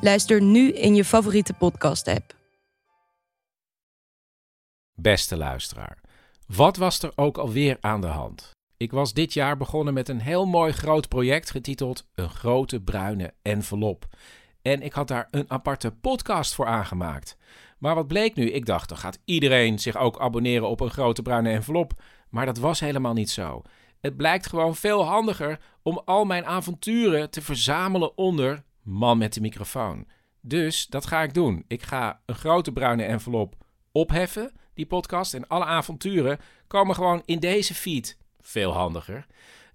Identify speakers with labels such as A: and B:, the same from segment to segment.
A: Luister nu in je favoriete podcast-app.
B: Beste luisteraar, wat was er ook alweer aan de hand? Ik was dit jaar begonnen met een heel mooi groot project getiteld Een grote bruine envelop. En ik had daar een aparte podcast voor aangemaakt. Maar wat bleek nu? Ik dacht, dan gaat iedereen zich ook abonneren op een grote bruine envelop. Maar dat was helemaal niet zo. Het blijkt gewoon veel handiger om al mijn avonturen te verzamelen onder Man met de microfoon. Dus dat ga ik doen. Ik ga een grote bruine envelop opheffen, die podcast. En alle avonturen komen gewoon in deze feed. Veel handiger.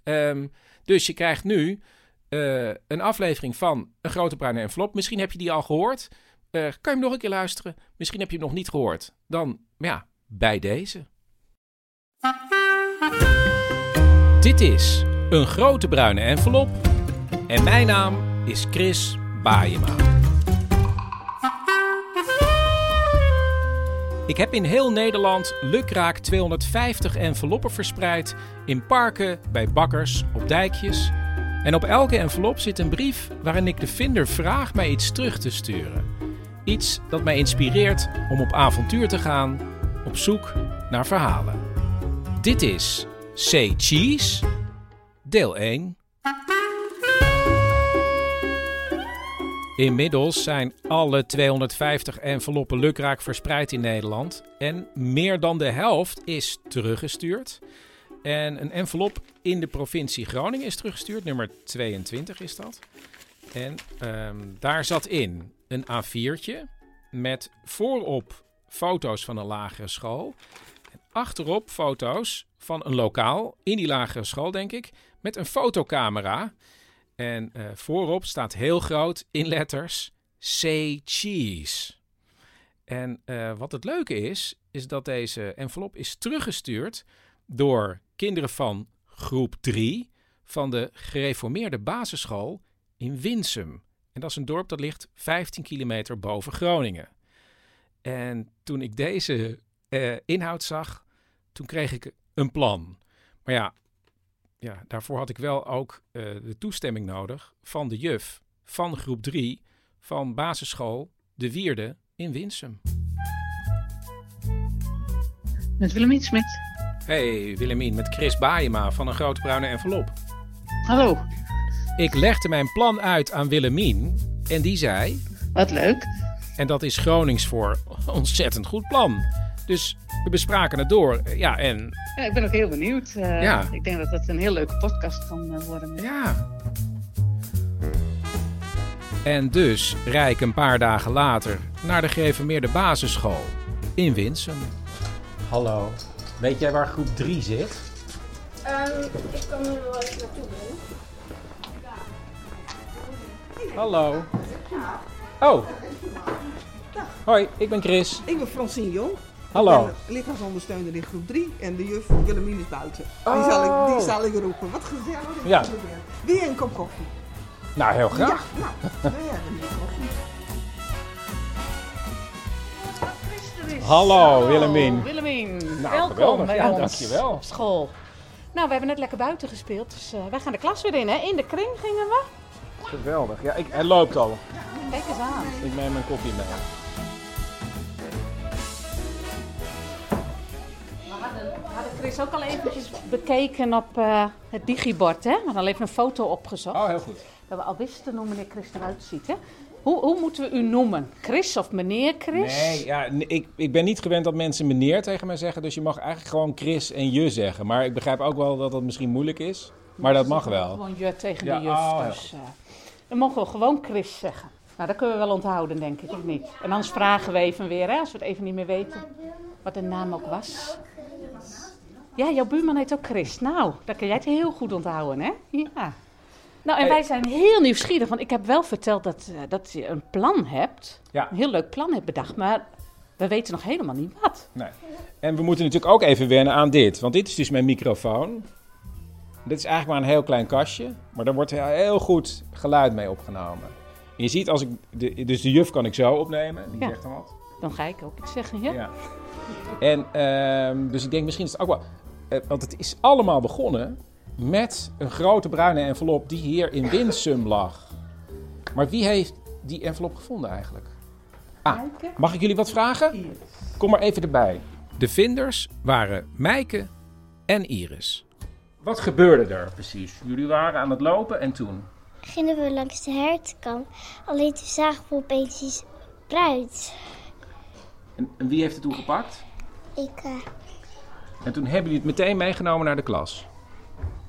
B: Ehm, dus je krijgt nu eh, een aflevering van Een Grote Bruine Envelop. Misschien heb je die al gehoord. Eh, kan je hem nog een keer luisteren? Misschien heb je hem nog niet gehoord. Dan, ja, bij deze. Dit is Een Grote Bruine Envelop. En mijn naam is Chris Baaiema. Ik heb in heel Nederland lukraak 250 enveloppen verspreid in parken, bij bakkers, op dijkjes. En op elke envelop zit een brief waarin ik de vinder vraag mij iets terug te sturen. Iets dat mij inspireert om op avontuur te gaan, op zoek naar verhalen. Dit is Say Cheese, deel 1. Inmiddels zijn alle 250 enveloppen lukraak verspreid in Nederland. En meer dan de helft is teruggestuurd. En een envelop in de provincie Groningen is teruggestuurd. Nummer 22 is dat. En ehm, daar zat in een A4'tje met voorop foto's van een lagere school. En achterop foto's van een lokaal in die lagere school, denk ik. Met een fotocamera. En eh, voorop staat heel groot in letters Say Cheese. En eh, wat het leuke is, is dat deze envelop is teruggestuurd door kinderen van groep 3 van de gereformeerde basisschool in Winsum. En dat is een dorp dat ligt 15 kilometer boven Groningen. En toen ik deze eh, inhoud zag, toen kreeg ik een plan. Maar ja, ja, daarvoor had ik wel ook eh, de toestemming nodig van de juf van groep 3 van basisschool De Wierde in Winsum.
C: Met Willemien Smit.
B: Hey Willemien, met Chris Baaiema van een grote bruine envelop.
C: Hallo,
B: Ik legde mijn plan uit aan Willemien en die zei,
C: wat leuk.
B: en dat is Gronings voor ontzettend goed plan. Dus we bespraken het door. Eh, Ja, en
C: Ja, ik ben ook heel benieuwd. Eh,
B: Ja.
C: Ik denk dat dat een heel leuke podcast kan eh, worden.
B: Ja. En dus rijd ik een paar dagen later naar de gereformeerde basisschool in Winsum. Hallo, weet jij waar groep 3 zit?
D: Ehm, ik kan er wel even naartoe brengen.
B: Hallo. Oh. Hoi, ik ben Chris.
E: Ik ben Francine Jong. Ik
B: Hallo.
E: ben lichaamsondersteuner in groep 3 en de juf Willemien is buiten. Die, zal ik, die zal ik roepen. Wat gezellig dat
B: Oh. Ja.
E: je er bent. Wil je een kop koffie?
B: Nou, heel graag.
E: Nou, nou ja, dan een koffie.
B: Hallo, Willemien.
C: Willemien,
B: Nou,
C: welkom
B: geweldig.
C: bij
B: Ja,
C: ons
B: dankjewel.
C: op school. Nou, we hebben net lekker buiten gespeeld, dus eh, wij gaan de klas weer in, hè? In de kring gingen we.
B: Geweldig. Ja, ik, hij loopt al.
C: Kijk eens aan.
B: Ik neem mijn koffie mee.
C: We hadden Chris ook al eventjes bekeken op eh, het digibord, hè? We hadden al even een foto opgezocht.
B: Oh, heel goed.
C: Dat we al wisten hoe meneer Chris eruit ziet, hè? Hoe, hoe moeten we u noemen? Chris of meneer Chris?
B: Nee, ja, n- ik, ik ben niet gewend dat mensen meneer tegen mij zeggen. Dus je mag eigenlijk gewoon Chris en je zeggen. Maar ik begrijp ook wel dat dat misschien moeilijk is. Maar dat mag wel.
C: Gewoon je tegen
B: Ja,
C: de juf.
B: oh, ja.
C: dus, eh, dan mogen we gewoon Chris zeggen. Nou, dat kunnen we wel onthouden, denk ik, of niet? En anders vragen we even weer, hè, als we het even niet meer weten. Wat de naam ook was. Ja, jouw buurman heet ook Chris. Nou, dan kun jij het heel goed onthouden, hè? Ja. Nou, en wij zijn heel nieuwsgierig, want ik heb wel verteld dat, eh, dat je een plan hebt.
B: Ja.
C: Een heel leuk plan hebt bedacht, maar we weten nog helemaal niet wat.
B: Nee. En we moeten natuurlijk ook even wennen aan dit. Want dit is dus mijn microfoon. Dit is eigenlijk maar een heel klein kastje. Maar daar wordt heel- heel goed geluid mee opgenomen. Je ziet als ik. De, dus de juf kan ik zo opnemen. Die
C: Ja.
B: zegt dan wat.
C: Dan ga ik ook iets zeggen, ja?
B: Ja. En ehm, dus ik denk misschien is het ook wel. eh, want het is allemaal begonnen met een grote bruine envelop die hier in Winsum lag. Maar wie heeft die envelop gevonden eigenlijk? Ah, mag ik jullie wat vragen? Kom maar even erbij. De vinders waren Mijke en Iris. Wat gebeurde er precies? Jullie waren aan het lopen en toen?
F: gingen we langs de hertenkam. Alleen toen zagen we opeens iets bruins.
B: En, en wie heeft het toen gepakt?
F: Ik, eh,
B: En toen hebben jullie het meteen meegenomen naar de klas.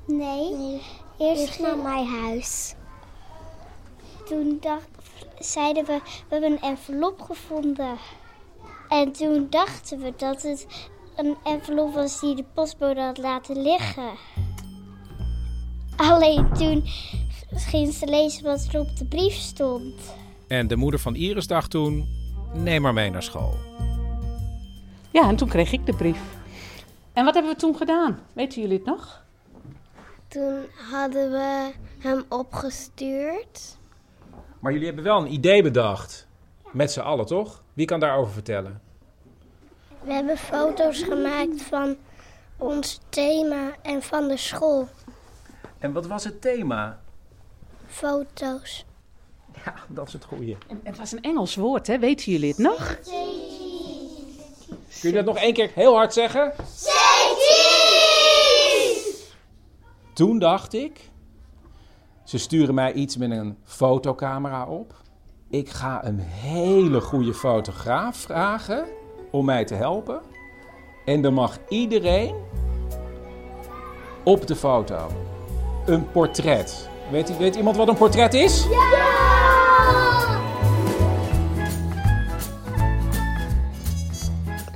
F: nee. Eerst, naar mijn huis. Toen dacht, zeiden we, we hebben een envelop gevonden. En toen dachten we dat het een envelop was die de postbode had laten liggen. Alleen toen ging ze lezen wat er op de brief stond.
B: En de moeder van Iris dacht toen: neem maar mee naar school.
C: Ja, en toen kreeg ik de brief. En wat hebben we toen gedaan? Weten jullie het nog?
F: Toen hadden we hem opgestuurd.
B: Maar jullie hebben wel een idee bedacht. Met z'n allen, toch? Wie kan daarover vertellen?
F: We hebben foto's gemaakt van ons thema en van de school.
B: En wat was het thema?
F: Foto's.
B: Ja, dat is het goede.
C: Het was een Engels woord, hè? Weten jullie het nog?
B: Kun je dat nog één keer heel hard zeggen? Toen dacht ik, ze sturen mij iets met een fotocamera op. Ik ga een hele goede fotograaf vragen om mij te helpen. En dan mag iedereen op de foto een portret. Weet, weet iemand wat een portret is?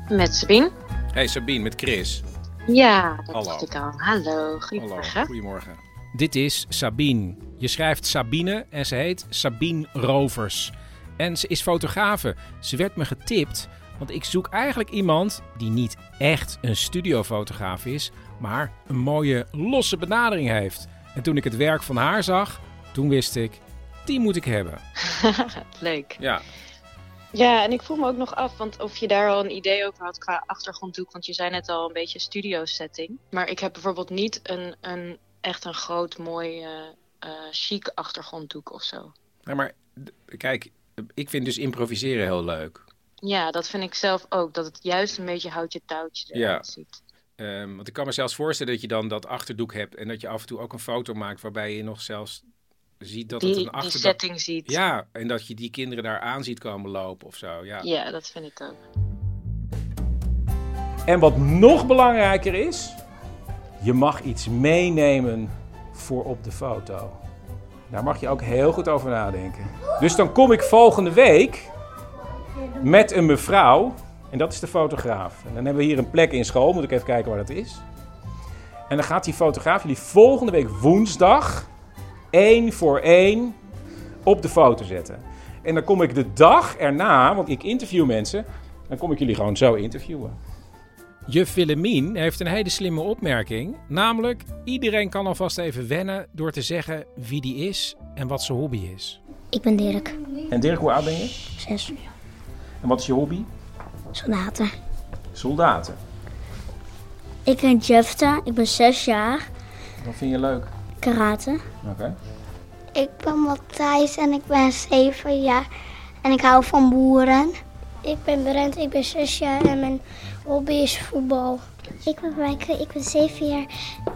G: Met Sabine?
B: Hey Sabine, met Chris.
G: Ja, dat
B: Hallo.
G: dacht ik al. Hallo, goedemorgen.
B: goedemorgen. Dit is Sabine. Je schrijft Sabine en ze heet Sabine Rovers. En ze is fotografe. Ze werd me getipt, want ik zoek eigenlijk iemand die niet echt een studiofotograaf is, maar een mooie losse benadering heeft. En toen ik het werk van haar zag, toen wist ik, die moet ik hebben.
G: Leuk.
B: Ja.
G: Ja, en ik vroeg me ook nog af, want of je daar al een idee over had qua achtergronddoek, want je zei net al een beetje studio setting. Maar ik heb bijvoorbeeld niet een, een echt een groot, mooi, eh, eh, chic achtergronddoek of zo.
B: maar kijk, ik vind dus improviseren heel leuk.
G: Ja, dat vind ik zelf ook, dat het juist een beetje houtje touwtje erin
B: Ja.
G: zit.
B: Ehm, want ik kan me zelfs voorstellen dat je dan dat achterdoek hebt en dat je af en toe ook een foto maakt waarbij je nog zelfs ziet dat het
G: Die,
B: een
G: die
B: achterdoek
G: setting ziet.
B: Ja, en dat je die kinderen daar aan ziet komen lopen of zo. Ja.
G: ja, dat vind ik ook.
B: En wat nog belangrijker is, je mag iets meenemen voor op de foto. Daar mag je ook heel goed over nadenken. Dus dan kom ik volgende week met een mevrouw. En dat is de fotograaf. En dan hebben we hier een plek in school. Moet ik even kijken waar dat is. En dan gaat die fotograaf jullie volgende week woensdag één voor één op de foto zetten. En dan kom ik de dag erna, want ik interview mensen, dan kom ik jullie gewoon zo interviewen. Juf Willemien heeft een hele slimme opmerking. Namelijk, iedereen kan alvast even wennen door te zeggen wie die is en wat zijn hobby is.
F: Ik ben Dirk,
B: En Dirk, hoe oud ben je?
F: zes,
B: En wat is je hobby?
F: soldaten.
B: Soldaten.
F: Ik ben Jefta, ik ben zes jaar,
B: Wat vind je leuk?
F: karate.
B: Oké.
F: Ik ben Matthijs en ik ben zeven jaar en ik hou van boeren. Ik ben Brent, ik ben zes jaar en mijn hobby is voetbal. Ik ben Rijke, ik ben zeven jaar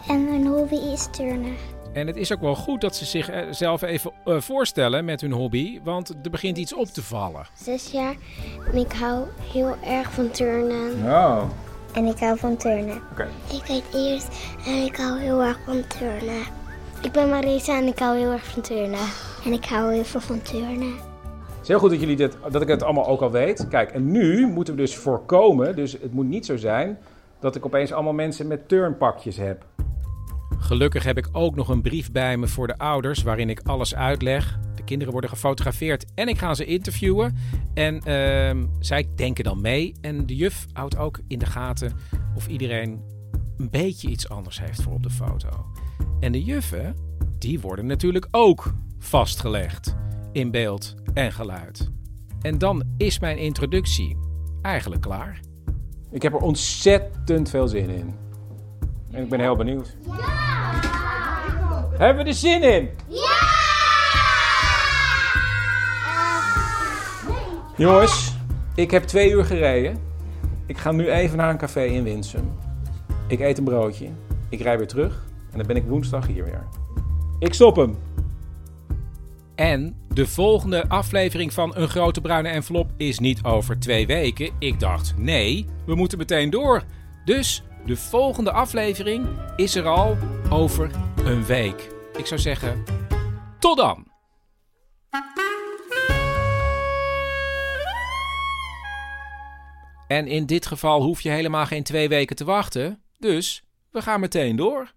F: en mijn hobby is turnen.
B: En het is ook wel goed dat ze zichzelf even eh, voorstellen met hun hobby, want er begint iets op te vallen.
F: Zes jaar en ik hou heel erg van turnen.
B: Oh.
F: En ik hou van turnen.
B: Oké.
F: Ik heet Eerst en ik hou heel erg van turnen. Ik ben Marisa en ik hou heel erg van turnen. En ik hou heel veel van turnen.
B: Het is heel goed dat, jullie dit, dat ik het allemaal ook al weet. Kijk, en nu moeten we dus voorkomen, dus het moet niet zo zijn dat ik opeens allemaal mensen met turnpakjes heb. Gelukkig heb ik ook nog een brief bij me voor de ouders waarin ik alles uitleg. De kinderen worden gefotografeerd en ik ga ze interviewen. En ehm, zij denken dan mee. En de juf houdt ook in de gaten of iedereen een beetje iets anders heeft voor op de foto. En de juffen, die worden natuurlijk ook vastgelegd in beeld en geluid. En dan is mijn introductie eigenlijk klaar. Ik heb er ontzettend veel zin in. En ik ben heel benieuwd. Hebben we er zin in? Jongens, ik heb twee uur gereden. Ik ga nu even naar een café in Winsum. Ik eet een broodje. Ik rij weer terug. En dan ben ik woensdag hier weer. Ik stop hem. En de volgende aflevering van Een Grote Bruine Envelop is niet over twee weken. Ik dacht, nee, we moeten meteen door. Dus de volgende aflevering is er al over een week. Ik zou zeggen, tot dan! En in dit geval hoef je helemaal geen twee weken te wachten. Dus we gaan meteen door.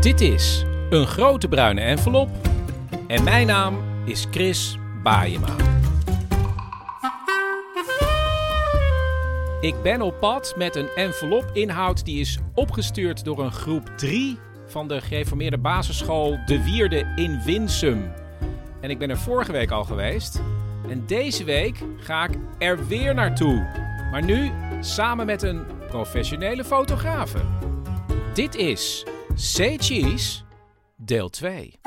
B: Dit is een grote bruine envelop. En mijn naam is Chris Baaiema. Ik ben op pad met een envelop inhoud die is opgestuurd door een groep 3 van de gereformeerde basisschool De Wierde in Winsum. En ik ben er vorige week al geweest. En deze week ga ik er weer naartoe. Maar nu samen met een professionele fotografe. Dit is Say Cheese, deel 2.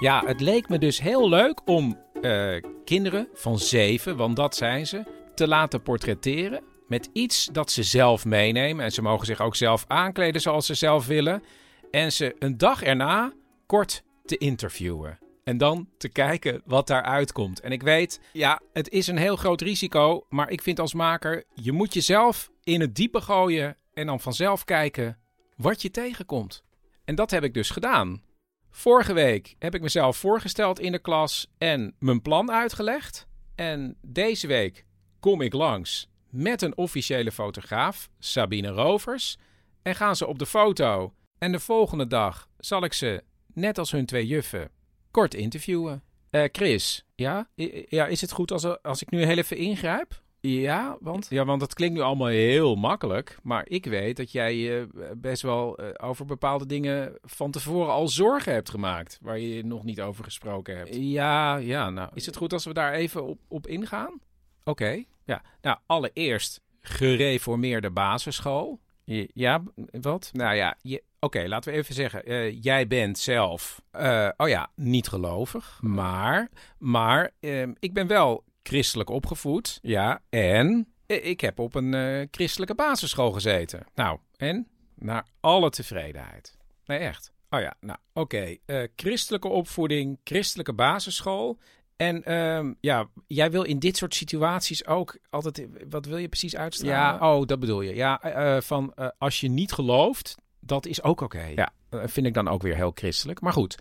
B: Ja, het leek me dus heel leuk om eh, kinderen van zeven, want dat zijn ze, te laten portretteren. Met iets dat ze zelf meenemen. En ze mogen zich ook zelf aankleden zoals ze zelf willen. En ze een dag erna kort te interviewen. En dan te kijken wat daaruit komt. En ik weet, ja, het is een heel groot risico. Maar ik vind als maker, je moet jezelf in het diepe gooien. En dan vanzelf kijken wat je tegenkomt. En dat heb ik dus gedaan. Vorige week heb ik mezelf voorgesteld in de klas en mijn plan uitgelegd. En deze week kom ik langs met een officiële fotograaf, Sabine Rovers, en gaan ze op de foto. En de volgende dag zal ik ze, net als hun twee juffen, kort interviewen. Eh, Chris, ja? I- ja, is het goed als, als ik nu heel even ingrijp? Ja want? ja, want dat klinkt nu allemaal heel makkelijk. Maar ik weet dat jij je best wel eh, over bepaalde dingen van tevoren al zorgen hebt gemaakt. Waar je nog niet over gesproken hebt. Ja, ja. Nou, is het goed als we daar even op, op ingaan? Oké. Ja. Nou, allereerst gereformeerde basisschool. Je- Ja, b- wat? Nou ja, je- oké, laten we even zeggen. eh, jij bent zelf, eh, oh ja, niet gelovig. Maar, maar ehm, ik ben wel christelijk opgevoed. Ja, en eh, ik heb op een eh, christelijke basisschool gezeten. Nou, en? Naar alle tevredenheid. Nee, echt. Oh ja, nou, oké. Eh, christelijke opvoeding, christelijke basisschool. En ehm, ja, jij wil in dit soort situaties ook altijd. Wat wil je precies uitstralen? Ja, oh, dat bedoel je. Ja, eh, eh, van eh, als je niet gelooft, dat is ook oké. Ja, eh, vind ik dan ook weer heel christelijk. Maar goed,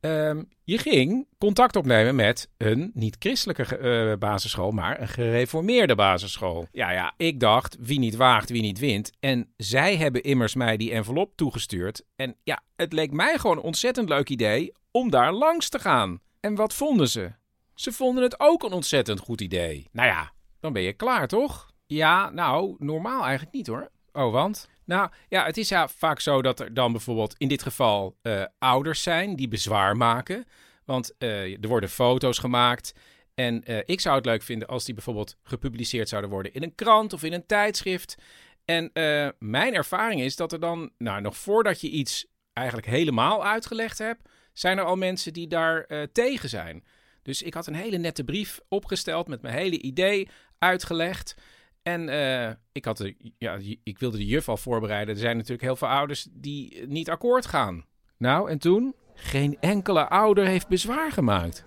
B: ehm, je ging contact opnemen met een niet-christelijke ge- eh, basisschool, maar een gereformeerde basisschool. Ja, ja, ik dacht, wie niet waagt, wie niet wint. En zij hebben immers mij die envelop toegestuurd. En ja, het leek mij gewoon een ontzettend leuk idee om daar langs te gaan. En wat vonden ze? Ze vonden het ook een ontzettend goed idee. Nou ja, dan ben je klaar, toch? Ja, nou, normaal eigenlijk niet hoor. Oh, want? Nou ja, het is ja vaak zo dat er dan bijvoorbeeld in dit geval eh, ouders zijn die bezwaar maken. Want eh, er worden foto's gemaakt. En eh, ik zou het leuk vinden als die bijvoorbeeld gepubliceerd zouden worden in een krant of in een tijdschrift. En eh, mijn ervaring is dat er dan, nou, nog voordat je iets eigenlijk helemaal uitgelegd hebt, zijn er al mensen die daar eh, tegen zijn. Dus ik had een hele nette brief opgesteld met mijn hele idee uitgelegd. En eh, ik, had de, ja, ik wilde de juf al voorbereiden. Er zijn natuurlijk heel veel ouders die eh, niet akkoord gaan. Nou, en toen? Geen enkele ouder heeft bezwaar gemaakt.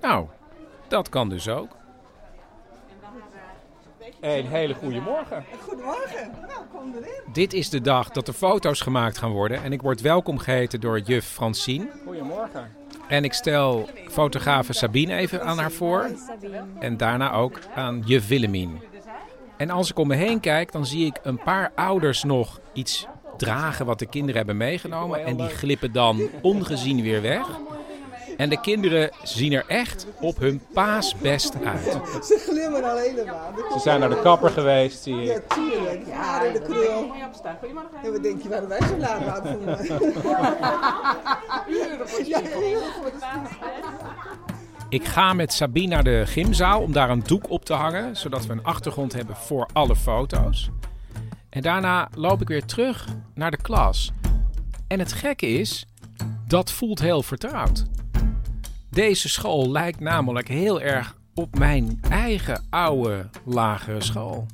B: Nou, dat kan dus ook. Een hele goede morgen.
E: Goedemorgen. Nou, kom erin.
B: Dit is de dag dat er foto's gemaakt gaan worden. En ik word welkom geheten door juf Francine.
H: Goedemorgen.
B: En ik stel fotografe Sabine even aan haar voor. En daarna ook aan juf Willemien. En als ik om me heen kijk, dan zie ik een paar ouders nog iets dragen wat de kinderen hebben meegenomen. En die glippen dan ongezien weer weg. En de kinderen zien er echt op hun paasbest uit.
E: Ze glimmen al helemaal.
B: Ze zijn naar de kapper geweest, zie ik.
E: Natuurlijk, ja, haren in de krul. Ja, wat denk je waarom wij zo laat aan voelen? Uren voor Ja, uren voor de
B: Ik ga met Sabine naar de gymzaal om daar een doek op te hangen, zodat we een achtergrond hebben voor alle foto's. En daarna loop ik weer terug naar de klas. En het gekke is, dat voelt heel vertrouwd. Deze school lijkt namelijk heel erg op mijn eigen oude lagere school.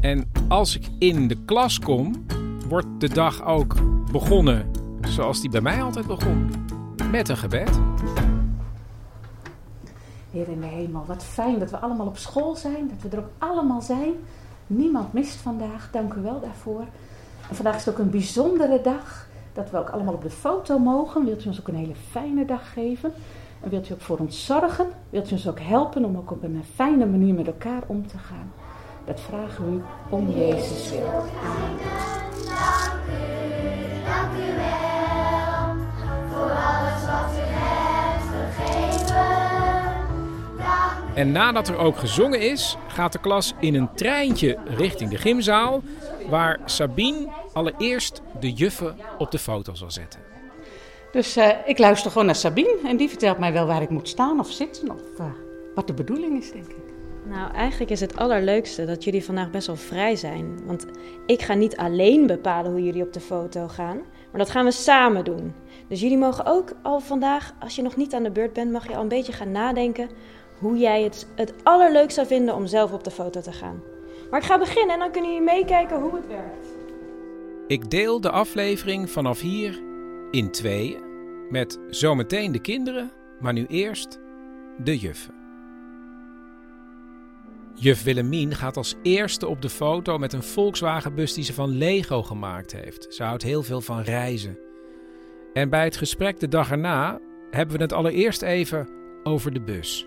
B: En als ik in de klas kom, wordt de dag ook begonnen zoals die bij mij altijd begon: met een gebed.
C: Heer in de hemel, wat fijn dat we allemaal op school zijn. Dat we er ook allemaal zijn. Niemand mist vandaag. Dank u wel daarvoor. En vandaag is het ook een bijzondere dag. Dat we ook allemaal op de foto mogen. Wilt u ons ook een hele fijne dag geven? En wilt u ook voor ons zorgen? Wilt u ons ook helpen om ook op een fijne manier met elkaar om te gaan? Dat vragen we u om Jezus wil.
D: Dank u wel voor alles wat u hebt gegeven.
B: En nadat er ook gezongen is, gaat de klas in een treintje richting de gymzaal, waar Sabine allereerst de juffen op de foto zal zetten.
C: Dus eh, ik luister gewoon naar Sabine. En die vertelt mij wel waar ik moet staan of zitten. Of eh, wat de bedoeling is, denk ik.
G: Nou, eigenlijk is het allerleukste dat jullie vandaag best wel vrij zijn. Want ik ga niet alleen bepalen hoe jullie op de foto gaan, maar dat gaan we samen doen. Dus jullie mogen ook al vandaag, als je nog niet aan de beurt bent, mag je al een beetje gaan nadenken hoe jij het het allerleukst zou vinden om zelf op de foto te gaan. Maar ik ga beginnen en dan kunnen jullie meekijken hoe het werkt.
B: Ik deel de aflevering vanaf hier in tweeën, met zometeen de kinderen, maar nu eerst de juffen. Juf Willemien gaat als eerste op de foto met een Volkswagenbus die ze van Lego gemaakt heeft. Ze houdt heel veel van reizen. En bij het gesprek de dag erna hebben we het allereerst even over de bus.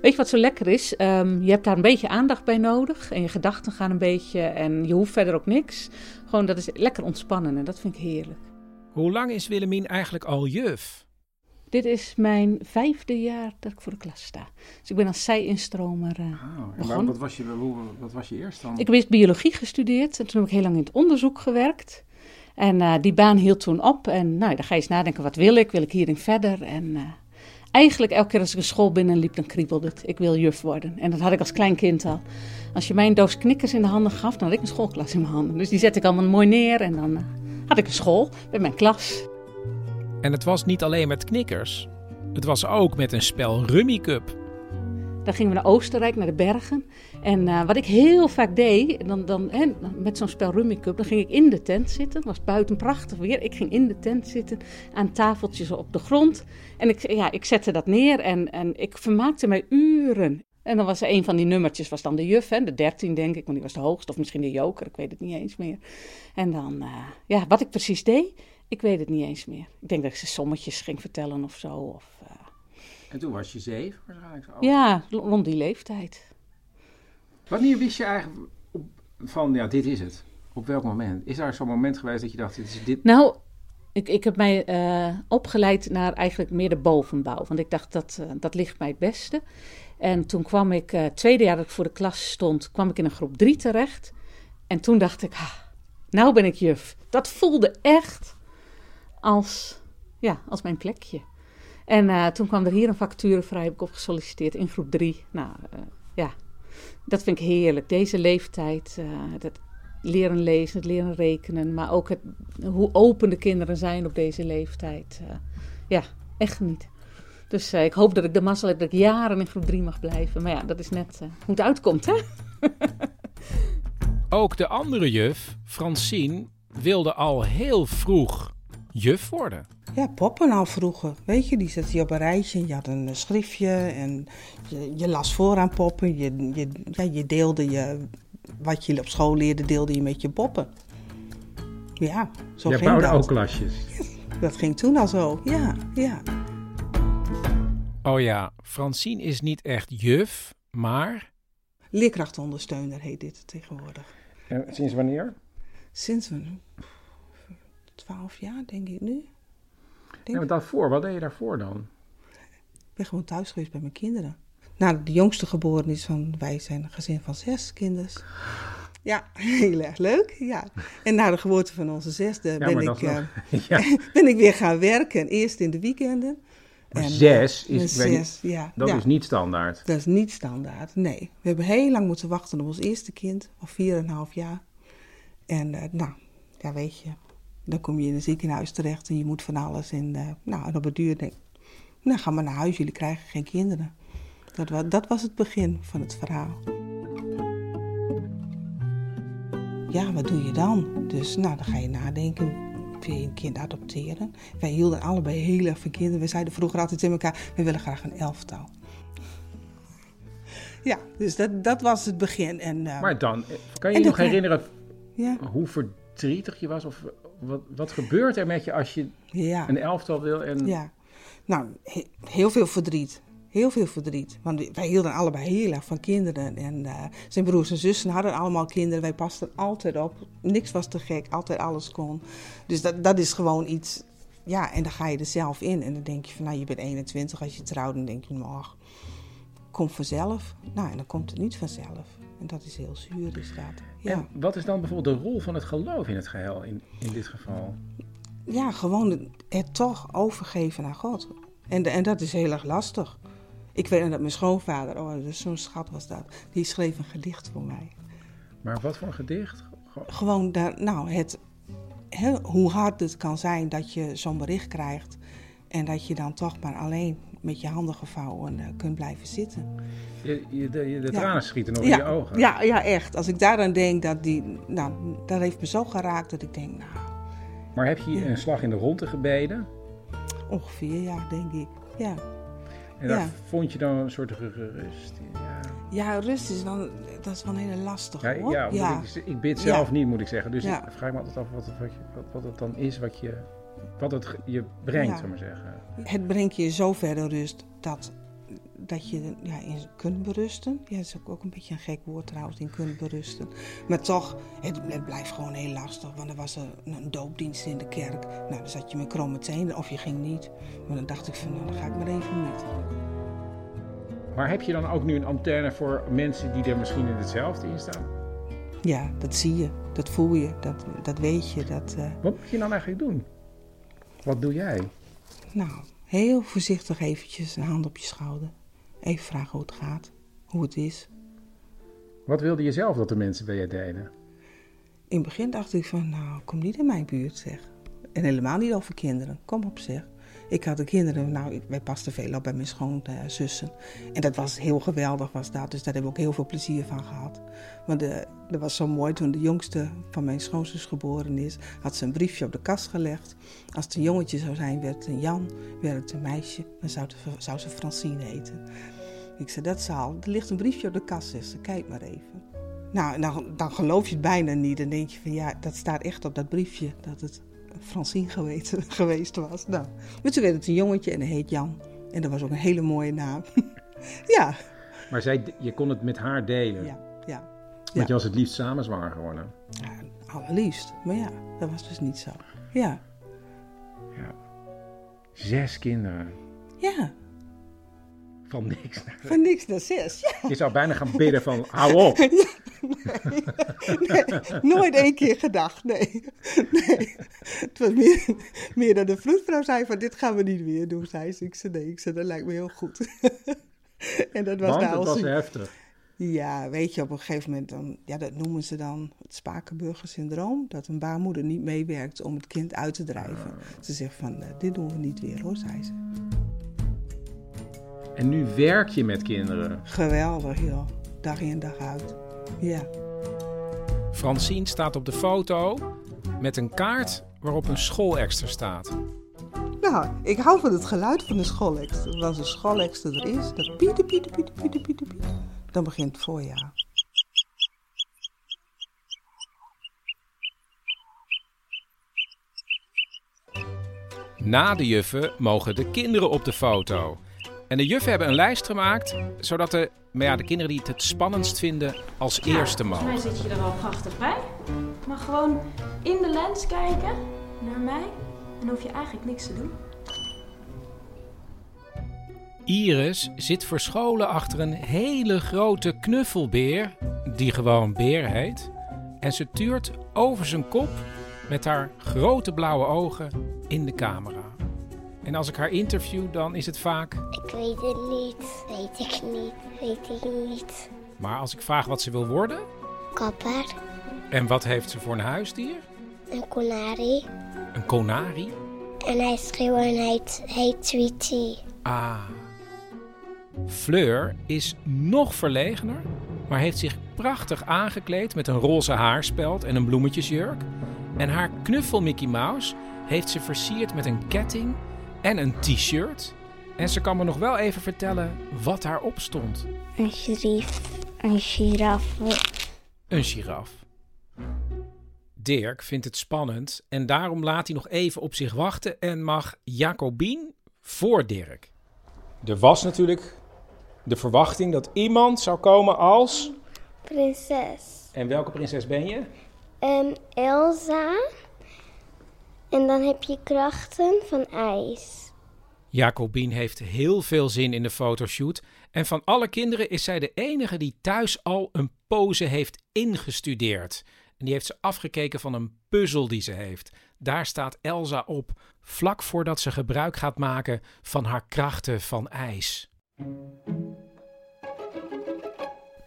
C: Weet je wat zo lekker is? Ehm, je hebt daar een beetje aandacht bij nodig. En je gedachten gaan een beetje. En je hoeft verder ook niks. Gewoon, dat is lekker ontspannen. En dat vind ik heerlijk.
B: Hoe lang is Willemien eigenlijk al juf?
C: Dit is mijn vijfde jaar dat ik voor de klas sta. Dus ik ben als zij-instromer eh,
H: En waar-
C: begonnen.
H: wat, was je, hoe, wat was je eerst dan?
C: Ik heb eerst biologie gestudeerd en toen heb ik heel lang in het onderzoek gewerkt. En eh, die baan hield toen op. En nou, dan ga je eens nadenken, wat wil ik? Wil ik hierin verder? En eh, eigenlijk elke keer als ik een school binnenliep, dan kriebelde het. Ik wil juf worden. En dat had ik als klein kind al. Als je mij een doos knikkers in de handen gaf, dan had ik een schoolklas in mijn handen. Dus die zette ik allemaal mooi neer en dan eh, had ik een school bij mijn klas.
B: En het was niet alleen met knikkers. Het was ook met een spel Rummy Cup.
C: Dan gingen we naar Oostenrijk, naar de bergen. En eh, wat ik heel vaak deed, dan, dan, hè, met zo'n spel Rummy Cup, dan ging ik in de tent zitten. Het was buiten prachtig weer. Ik ging in de tent zitten, aan tafeltjes op de grond. En ik, ja, ik zette dat neer en, en ik vermaakte mij uren. En dan was er een van die nummertjes, was dan de juf, hè, de dertien denk ik, want die was de hoogste. Of misschien de joker, ik weet het niet eens meer. En dan, eh, ja, wat ik precies deed, ik weet het niet eens meer. Ik denk dat ik ze sommetjes ging vertellen of zo. Of, eh,
H: En toen was je zeven waarschijnlijk.
B: Oh.
H: zo.
C: Ja, lo- rond die leeftijd.
H: Wanneer wist je eigenlijk op, van, ja, dit is het? Op welk moment? Is daar zo'n moment geweest dat je dacht, dit is dit?
C: Nou, ik, ik heb mij eh, opgeleid naar eigenlijk meer de bovenbouw. Want ik dacht, dat, eh, dat ligt mij het beste. En toen kwam ik, eh, het tweede jaar dat ik voor de klas stond, kwam ik in een groep drie terecht. En toen dacht ik, ah, nou ben ik juf. Dat voelde echt als, ja, als mijn plekje. En eh, toen kwam er hier een vacature vrij, heb ik op gesolliciteerd in groep drie. Nou, eh, ja, dat vind ik heerlijk. Deze leeftijd, eh, het leren lezen, het leren rekenen, maar ook het, hoe open de kinderen zijn op deze leeftijd. eh, ja, echt niet. Dus eh, ik hoop dat ik de mazzel heb dat ik jaren in groep 3 mag blijven. Maar ja, dat is net eh, hoe het uitkomt, hè?
B: Ook de andere juf, Francine, wilde al heel vroeg juf worden.
I: Ja, poppen al vroeger. Weet je, die zette je op een rijtje. en Je had een eh, schriftje en je, je las voor aan poppen. Je, je, ja, je deelde je, wat je op school leerde, deelde je met je poppen. Ja, zo
H: Jij
I: ging
H: bouwde
I: dat.
H: ook klasjes.
I: Dat ging toen al zo, ja, ja.
B: Oh ja, Francine is niet echt juf, maar
I: Leerkrachtondersteuner heet dit tegenwoordig.
H: En sinds wanneer?
I: Sinds een twaalf jaar, denk ik nu.
H: Ja, maar daarvoor, wat deed je daarvoor dan?
I: Ik ben gewoon thuis geweest bij mijn kinderen. Nou, de jongste geboren is van, wij zijn een gezin van zes kinders. Ja, heel erg leuk. Ja. En na de geboorte van onze zesde ben,
H: maar dat
I: ik,
H: is nog-
I: eh,
H: ja.
I: ben ik weer gaan werken. Eerst in de weekenden.
H: Maar
I: En,
H: zes
I: eh,
H: is, ik weet
I: zes,
H: niet,
I: ja.
H: dat
I: ja.
H: is niet standaard.
I: Dat is niet standaard, nee. We hebben heel lang moeten wachten op ons eerste kind, al 4,5 jaar. En eh, nou, ja weet je, dan kom je in een ziekenhuis terecht en je moet van alles. En, eh, nou, en op het duur denk ik, nou ga maar naar huis, jullie krijgen geen kinderen. Dat was, dat was het begin van het verhaal. Ja, wat doe je dan? Dus nou, dan ga je nadenken. Wil je een kind adopteren? Wij hielden allebei heel erg van kinderen. We zeiden vroeger altijd in elkaar, we willen graag een elftal. Ja, dus dat, dat was het begin. En, eh,
H: Maar dan, eh, kan je
I: en
H: je nog
I: dan-
H: herinneren
I: Ja.
H: hoe verdrietig je was? Of wat, wat gebeurt er met je als je
I: Ja.
H: een elftal wil? En,
I: Ja. Nou, he- heel veel verdriet. Heel veel verdriet. Want wij hielden allebei heel erg van kinderen. En eh, zijn broers en zussen hadden allemaal kinderen. Wij pasten altijd op. Niks was te gek. Altijd alles kon. Dus dat, dat is gewoon iets... Ja, en dan ga je er zelf in. En dan denk je van, nou, je bent 21. Als je trouwt, dan denk je, nou, komt vanzelf. Nou, en dan komt het niet vanzelf. En dat is heel zuur, is dat. Ja.
H: en wat is dan bijvoorbeeld de rol van het geloof in het geheel in, in dit geval?
I: ja, gewoon het toch overgeven aan God. En, en dat is heel erg lastig. Ik weet dat mijn schoonvader, oh, dus zo'n schat was dat, die schreef een gedicht voor mij.
H: Maar wat voor een gedicht?
I: Gewoon, daar, nou, het, hè, hoe hard het kan zijn dat je zo'n bericht krijgt. En dat je dan toch maar alleen met je handen gevouwen eh, kunt blijven zitten.
H: Je, je, de je- de
I: Ja.
H: tranen schieten nog
I: ja.
H: in je ogen.
I: Ja, ja, echt. Als ik daaraan denk, dat, die, nou, dat heeft me zo geraakt dat ik denk, nou,
H: Maar heb je een slag in de ronde gebeden?
I: ongeveer ja, denk ik. Ja.
H: En daar
I: Ja.
H: vond je dan een soort gerust in. Ja,
I: Ja, rust is wel, dat is wel een hele lastige
H: ja,
I: hoor.
H: ja, omdat Ik, ik bid zelf niet, moet ik zeggen. Dus
I: Ja.
H: ik vraag me altijd af wat, wat, je- wat, wat het dan is wat je, wat het ge- je brengt,
I: Ja.
H: zou maar zeggen.
I: Het brengt je zover de rust dat, dat je ja, in kunt berusten. Ja, dat is ook, ook een beetje een gek woord trouwens, in kunt berusten. Maar toch, het, het blijft gewoon heel lastig. Want er was er een, een doopdienst in de kerk. Nou, dan zat je met kromme tenen of je ging niet. Maar dan dacht ik van, nou, dan ga ik maar even niet.
H: Maar heb je dan ook nu een antenne voor mensen die er misschien in hetzelfde in staan?
I: Ja, dat zie je, dat voel je, dat, dat weet je. Dat, eh,
H: Wat moet je dan eigenlijk doen? Wat doe jij?
I: Nou, heel voorzichtig eventjes een hand op je schouder. Even vragen hoe het gaat, hoe het is.
H: Wat wilde je zelf dat de mensen bij je deden?
I: In het begin dacht ik van, nou, kom niet in mijn buurt, zeg. En helemaal niet over kinderen. Kom op, zeg. Ik had de kinderen, nou, ik- wij pasten veel op bij mijn schoonzussen. En dat was heel geweldig, was dat. Dus daar hebben we ook heel veel plezier van gehad. Want eh, dat was zo mooi, toen de jongste van mijn schoonzus geboren is... had ze een briefje op de kast gelegd. Als het een jongetje zou zijn, werd het een Jan. Werd het een meisje, dan zou, het- zou ze Francine heten. Ik zei, dat zal. Er ligt een briefje op de kast, zegt ze. Kijk maar even. Nou, en dan, dan geloof je het bijna niet. Dan denk je van ja, dat staat echt op dat briefje dat het Francine geweten, geweest was. Nou, maar toen werd het een jongetje en hij heet Jan. En dat was ook een hele mooie naam. ja,
H: Maar zij, je kon het met haar delen.
I: Ja, ja.
H: Want
I: Ja.
H: je was het liefst samen zwanger geworden.
I: allerliefst. Maar ja, dat was dus niet zo. Ja,
H: Zes kinderen.
I: ja,
H: Van niks. naar-
I: van niks naar zes. Ja.
H: Je zou bijna gaan bidden van, hou op.
I: Nee, nooit één keer gedacht, nee. nee. Het was meer, meer dat de vroedvrouw zei van dit gaan we niet weer doen. Zei ze, ik zei nee, ik zei dat lijkt me heel goed. en dat was nou
H: Want het
I: al
H: was
I: zo-
H: heftig.
I: Ja, weet je, op een gegeven moment, dan, ja, dat noemen ze dan het Spakenburger-syndroom. Dat een baarmoeder niet meewerkt om het kind uit te drijven. Ze zegt van, eh, dit doen we niet weer hoor, zei ze.
H: En nu werk je met kinderen.
I: Geweldig, joh. Dag in, dag uit. Ja.
B: Francine staat op de foto met een kaart waarop een schoolekster staat.
I: Nou, ik hou van het geluid van de schoolekster. Want als een schoolekster er is, dan pieten, pieten, pieten, pieten, pieten, pieten. Dan begint het voorjaar.
B: Na de juffen mogen de kinderen op de foto. En de juffen hebben een lijst gemaakt, zodat de, maar ja, de kinderen die het het spannendst vinden als eerste
G: Volgens
B: mogen.
G: mij zit je er al prachtig bij. Je mag gewoon in de lens kijken naar mij. En hoef je eigenlijk niks te doen.
B: Iris zit verscholen achter een hele grote knuffelbeer, die gewoon Beer heet. En ze tuurt over zijn kop met haar grote blauwe ogen in de camera. En als ik haar interview, dan is het vaak.
F: Ik weet het niet. Weet ik niet. Weet ik niet.
B: Maar als ik vraag wat ze wil worden
F: Kapper.
B: en wat heeft ze voor een huisdier,
F: Een konari.
B: een konari.
F: En hij schreeuwt en hij heet Sweetie.
B: Ah. Fleur is nog verlegener, maar heeft zich prachtig aangekleed met een roze haarspeld en een bloemetjesjurk. En haar knuffel Mickey Mouse heeft ze versierd met een ketting en een t-shirt. En ze kan me nog wel even vertellen wat daarop stond.
F: Een giraf. Een giraf.
B: Een giraf. Dirk vindt het spannend en daarom laat hij nog even op zich wachten en mag Jacobien voor Dirk. Er was natuurlijk de verwachting dat iemand zou komen als.
F: Prinses.
B: En welke prinses ben je?
F: En Elsa. En dan heb je krachten van ijs.
B: Jacobien heeft heel veel zin in de fotoshoot. En van alle kinderen is zij de enige die thuis al een pose heeft ingestudeerd. En die heeft ze afgekeken van een puzzel die ze heeft. Daar staat Elsa op, vlak voordat ze gebruik gaat maken van haar krachten van ijs.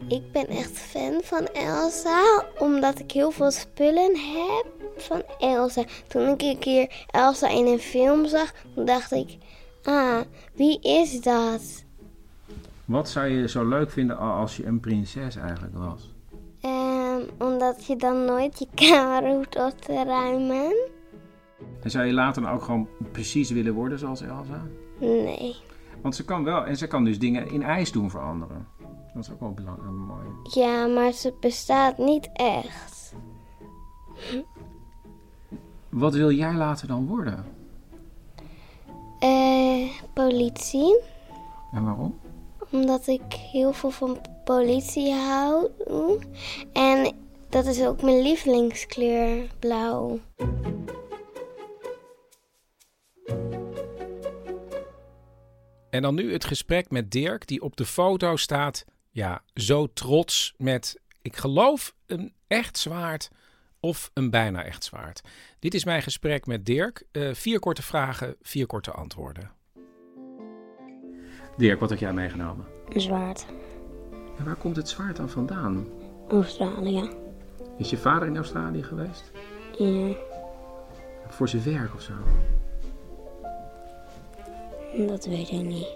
F: Ik ben echt fan van Elsa, omdat ik heel veel spullen heb van Elsa. Toen ik een keer Elsa in een film zag, toen dacht ik, ah, wie is dat?
H: Wat zou je zo leuk vinden a- als je een prinses eigenlijk was?
F: Ehm, omdat je dan nooit je kamer hoeft op te ruimen.
H: En zou je later dan ook gewoon precies willen worden zoals Elsa?
F: Nee.
H: Want ze kan wel, en ze kan dus dingen in ijs doen voor anderen. Dat is ook wel belangrijk en mooi.
F: Ja, maar ze bestaat niet echt.
H: Wat wil jij later dan worden?
F: Eh, politie.
H: En waarom?
F: Omdat ik heel veel van politie hou. En dat is ook mijn lievelingskleur, blauw.
B: En dan nu het gesprek met Dirk, die op de foto staat. Ja, zo trots met, ik geloof, een echt zwaard of een bijna echt zwaard. Dit is mijn gesprek met Dirk. Eh, vier korte vragen, vier korte antwoorden.
H: Dirk, wat heb jij meegenomen?
F: Een zwaard.
H: En waar komt het zwaard dan vandaan?
F: Australië.
H: Is je vader in Australië geweest?
F: Ja,
H: Voor zijn werk of zo?
F: dat weet ik niet.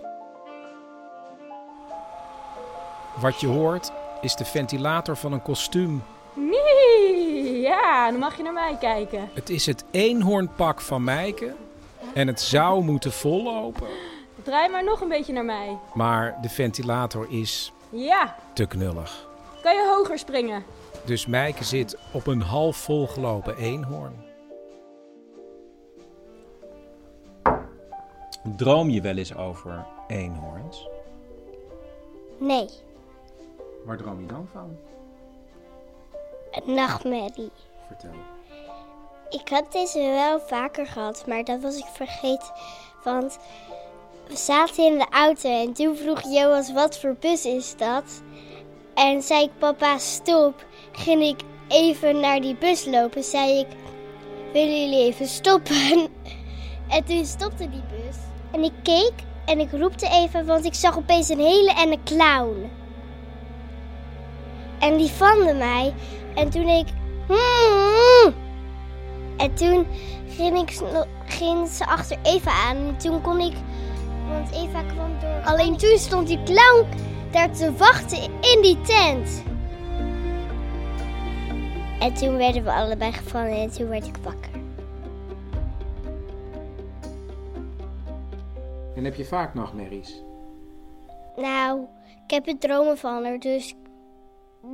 B: Wat je hoort is de ventilator van een kostuum.
G: Nee, ja, dan mag je naar mij kijken.
B: Het is het eenhoornpak van Mijke. En het zou moeten vollopen,
G: Draai maar nog een beetje naar mij.
B: maar de ventilator is
G: Ja,
B: te knullig.
G: kan je hoger springen?
B: Dus Mijke zit op een half volgelopen eenhoorn. Droom je wel eens over eenhoorns?
F: Nee,
H: Waar droom je dan van?
F: een nachtmerrie.
H: Vertel.
F: Ik had deze wel vaker gehad, maar dat was ik vergeten. Want we zaten in de auto en toen vroeg Joas wat voor bus is dat? En zei ik papa stop, ging ik even naar die bus lopen. Zei ik, willen jullie even stoppen? En toen stopte die bus. En ik keek en ik roepte even, want ik zag opeens een hele en een clown. En die vande mij. En toen ik... "Hmm." En toen ging, ik, sno- ging ze achter Eva aan. En toen kon ik... Want Eva kwam door... Alleen toen stond die clown daar te wachten in die tent. En toen werden we allebei gevallen en toen werd ik wakker.
J: En heb je vaak nachtmerries?
F: Nou, ik heb er dromen van er, dus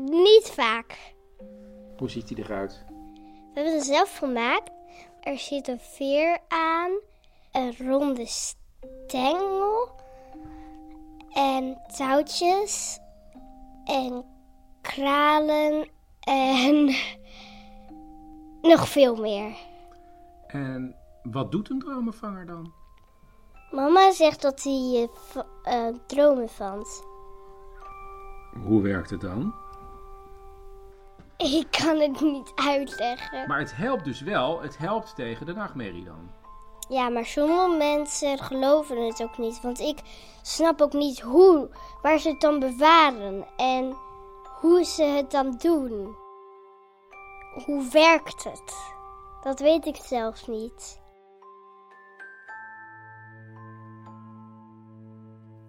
F: niet vaak.
J: Hoe ziet die eruit?
F: We hebben het zelf gemaakt. Er zit een veer aan, een ronde stengel en touwtjes en kralen en nog veel meer.
J: En wat doet een dromenvanger dan?
F: Mama zegt dat hij je v- eh, dromen vangt.
J: Hoe werkt het dan?
F: Ik kan het niet uitleggen.
J: Maar het helpt dus wel, het helpt tegen de nachtmerrie dan.
F: Ja, maar sommige mensen geloven het ook niet. Want ik snap ook niet hoe, waar ze het dan bewaren en hoe ze het dan doen. Hoe werkt het? Dat weet ik zelfs niet.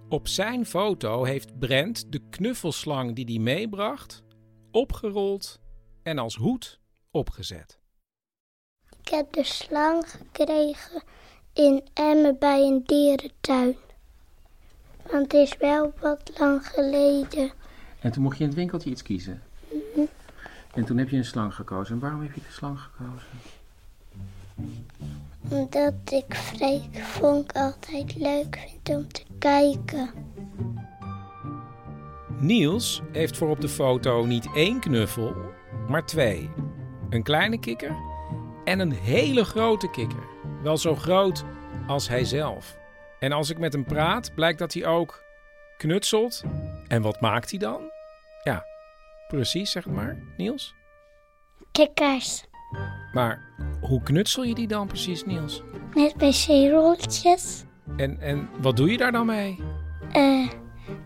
B: Op zijn foto heeft Brent de knuffelslang die hij meebracht opgerold en als hoed opgezet.
K: Ik heb de slang gekregen in Emmen bij een dierentuin. Want het is wel wat lang geleden.
J: En toen mocht je in het winkeltje iets kiezen. En toen heb je een slang gekozen. En waarom heb je de slang gekozen?
K: Omdat ik Freek Vonk altijd leuk vind om te kijken.
B: Niels heeft voor op de foto niet één knuffel, maar twee. Een kleine kikker en een hele grote kikker. Wel zo groot als hij zelf. En als ik met hem praat, blijkt dat hij ook knutselt. En wat maakt hij dan? Ja, precies, zeg het maar, Niels.
K: Kikkers
B: Maar hoe knutsel je die dan precies, Niels?
K: met wc-rolletjes.
B: En, en wat doe je daar dan mee?
K: eh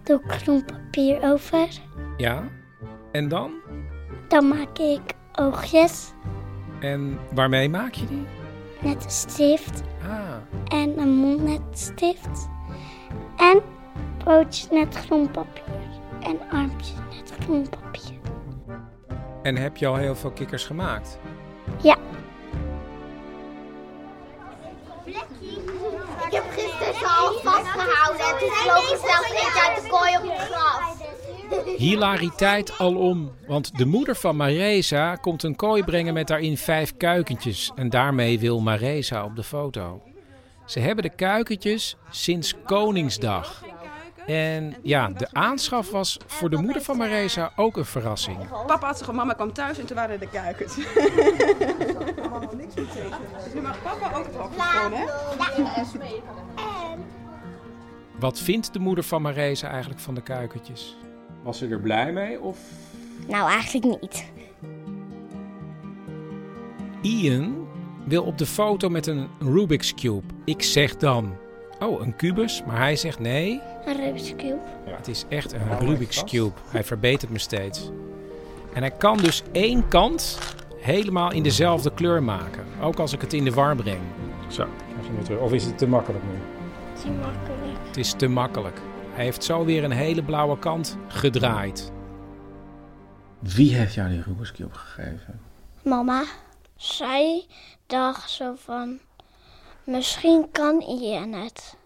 K: doe kroenpapier over.
B: Ja, en dan?
K: Dan maak ik oogjes
B: En waarmee maak je die?
K: met een stift.
B: Ah.
K: En een mond met stift. En pootjes met groenpapier. En armpjes met groenpapier.
B: En heb je al heel veel kikkers gemaakt?
K: Ja.
L: Ik heb gisteren zijn hand vastgehouden en toen vloog ze zelfs eentje uit de kooi op het gras.
B: Hilariteit alom, want de moeder van Maresa komt een kooi brengen met daarin vijf kuikentjes. En daarmee wil Maresa op de foto. Ze hebben de kuikentjes sinds Koningsdag. En ja, de aanschaf was voor de moeder van Maresa ook een verrassing.
I: Papa had ze gewoon, mama kwam thuis en toen waren de kuikens. dus nu mag papa ook het hokje gewoon, hè?
B: Wat vindt de moeder van Maresa eigenlijk van de kuikentjes?
J: Was ze er blij mee of
M: Nou, eigenlijk niet.
B: Ian wil op de foto met een Rubik's Cube. Ik zeg dan, oh, een kubus, maar hij zegt nee.
K: Een Rubik's Cube.
B: Het is echt een Rubik's Cube. Hij verbetert me steeds. En hij kan dus één kant helemaal in dezelfde kleur maken. Ook als ik het in de war breng. Zo, Of is het te makkelijk nu?
K: Zie makkelijk.
B: Het is te makkelijk. Hij heeft zo weer een hele blauwe kant gedraaid.
J: Wie heeft jou die Rubik's Cube gegeven?
K: Mama, zij dacht zo van, misschien kan Ian het.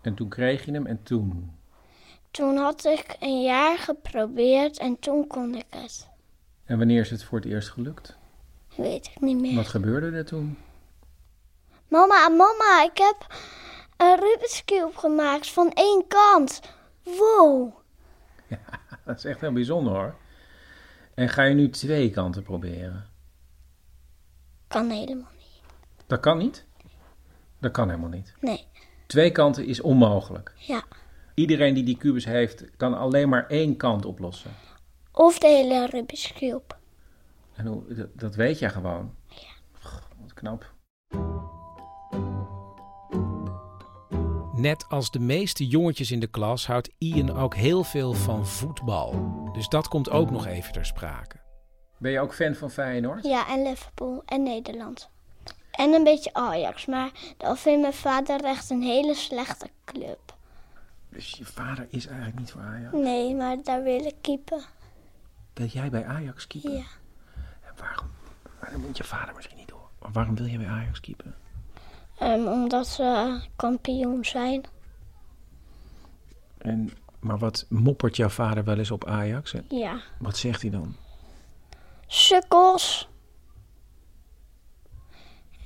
J: En toen kreeg je hem en toen.
K: Toen had ik een jaar geprobeerd en toen kon ik het.
J: En wanneer is het voor het eerst gelukt?
K: Weet ik niet meer.
J: Wat gebeurde er toen?
K: Mama, mama, ik heb een Rubik's Cube gemaakt van één kant. Wow.
J: Dat is echt heel bijzonder hoor. En ga je nu twee kanten proberen?
K: Kan helemaal niet.
J: Dat kan niet? Dat kan helemaal niet.
K: Nee.
J: Twee kanten is onmogelijk.
K: Ja.
J: Iedereen die die kubus heeft, kan alleen maar één kant oplossen.
K: Of de hele Rubik's Cube.
J: En hoe, dat, dat weet jij gewoon. Ja. Wat knap.
B: Net als de meeste jongetjes in de klas houdt Ian ook heel veel van voetbal. Dus dat komt ook nog even ter sprake.
J: Ben je ook fan van Feyenoord?
K: Ja, en Liverpool en Nederland. En een beetje Ajax, maar dat vindt mijn vader echt een hele slechte club.
J: Dus je vader is eigenlijk niet voor Ajax.
K: Nee, maar daar wil ik keeper.
J: Wil jij bij Ajax keeper?
K: Ja.
B: waarom? Dat moet je vader misschien niet horen. Maar waarom wil je bij Ajax keepen?
K: Ehm, omdat ze kampioen zijn.
B: En, maar wat moppert jouw vader wel eens op Ajax? Hè?
K: Ja.
B: Wat zegt hij dan?
K: Sukkels.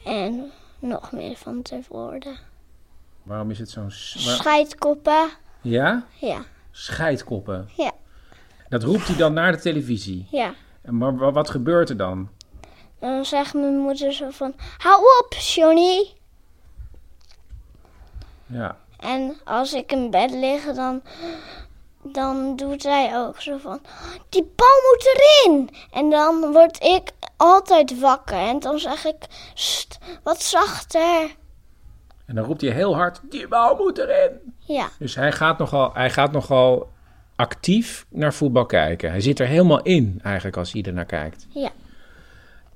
K: En nog meer van te woorden.
B: Waarom is het zo'n... s- waar-
K: Scheidkoppen.
B: Ja?
K: Ja.
B: Scheidkoppen.
K: Ja.
B: Dat roept hij dan naar de televisie.
K: Ja.
B: En Maar wa- wat gebeurt er dan?
K: Dan zegt mijn moeder zo van, hou op Johnny.
B: Ja.
K: En als ik in bed lig, dan, dan doet zij ook zo van, die bal moet erin. En dan word ik altijd wakker. En dan zeg ik, "Sst, wat zachter.
B: En dan roept hij heel hard, die bal moet erin.
K: Ja,
B: Dus hij gaat nogal, hij gaat nogal actief naar voetbal kijken. Hij zit er helemaal in eigenlijk als hij er naar kijkt.
K: ja,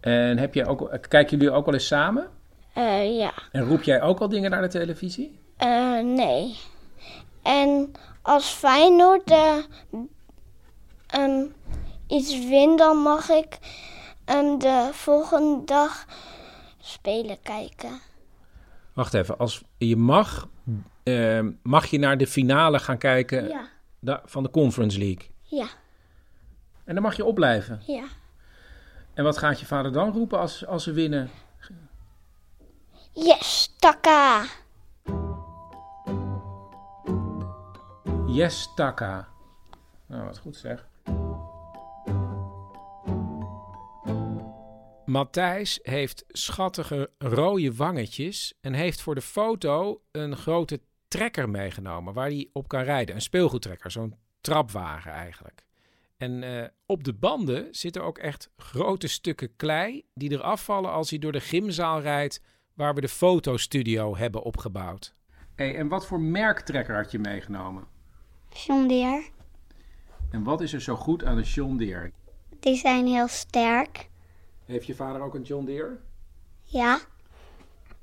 B: En heb je ook, kijken jullie ook wel eens samen?
K: Eh, ja.
B: En roep jij ook al dingen naar de televisie?
K: Eh, nee. En als Feyenoord eh, ehm, iets wint, dan mag ik ehm, de volgende dag spelen kijken.
B: Wacht even, als je mag, eh, mag je naar de finale gaan kijken
K: Ja.
B: da- van de Conference League.
K: Ja,
B: En dan mag je opblijven.
K: ja.
B: En wat gaat je vader dan roepen als, als ze winnen?
K: Yes, takka!
B: Yes, Taka. Nou, wat goed zeg.
N: Matthijs heeft schattige rode wangetjes en heeft voor de foto een grote trekker meegenomen waar hij op kan rijden. Een speelgoedtrekker, zo'n trapwagen eigenlijk. En eh, op de banden zitten ook echt grote stukken klei die eraf vallen als hij door de gymzaal rijdt waar we de fotostudio hebben opgebouwd.
B: Hey, en wat voor merktrekker had je meegenomen?
H: John Deere.
B: En wat is er zo goed aan een John Deere?
H: Die zijn heel sterk.
B: Heeft je vader ook een John Deere?
H: Ja.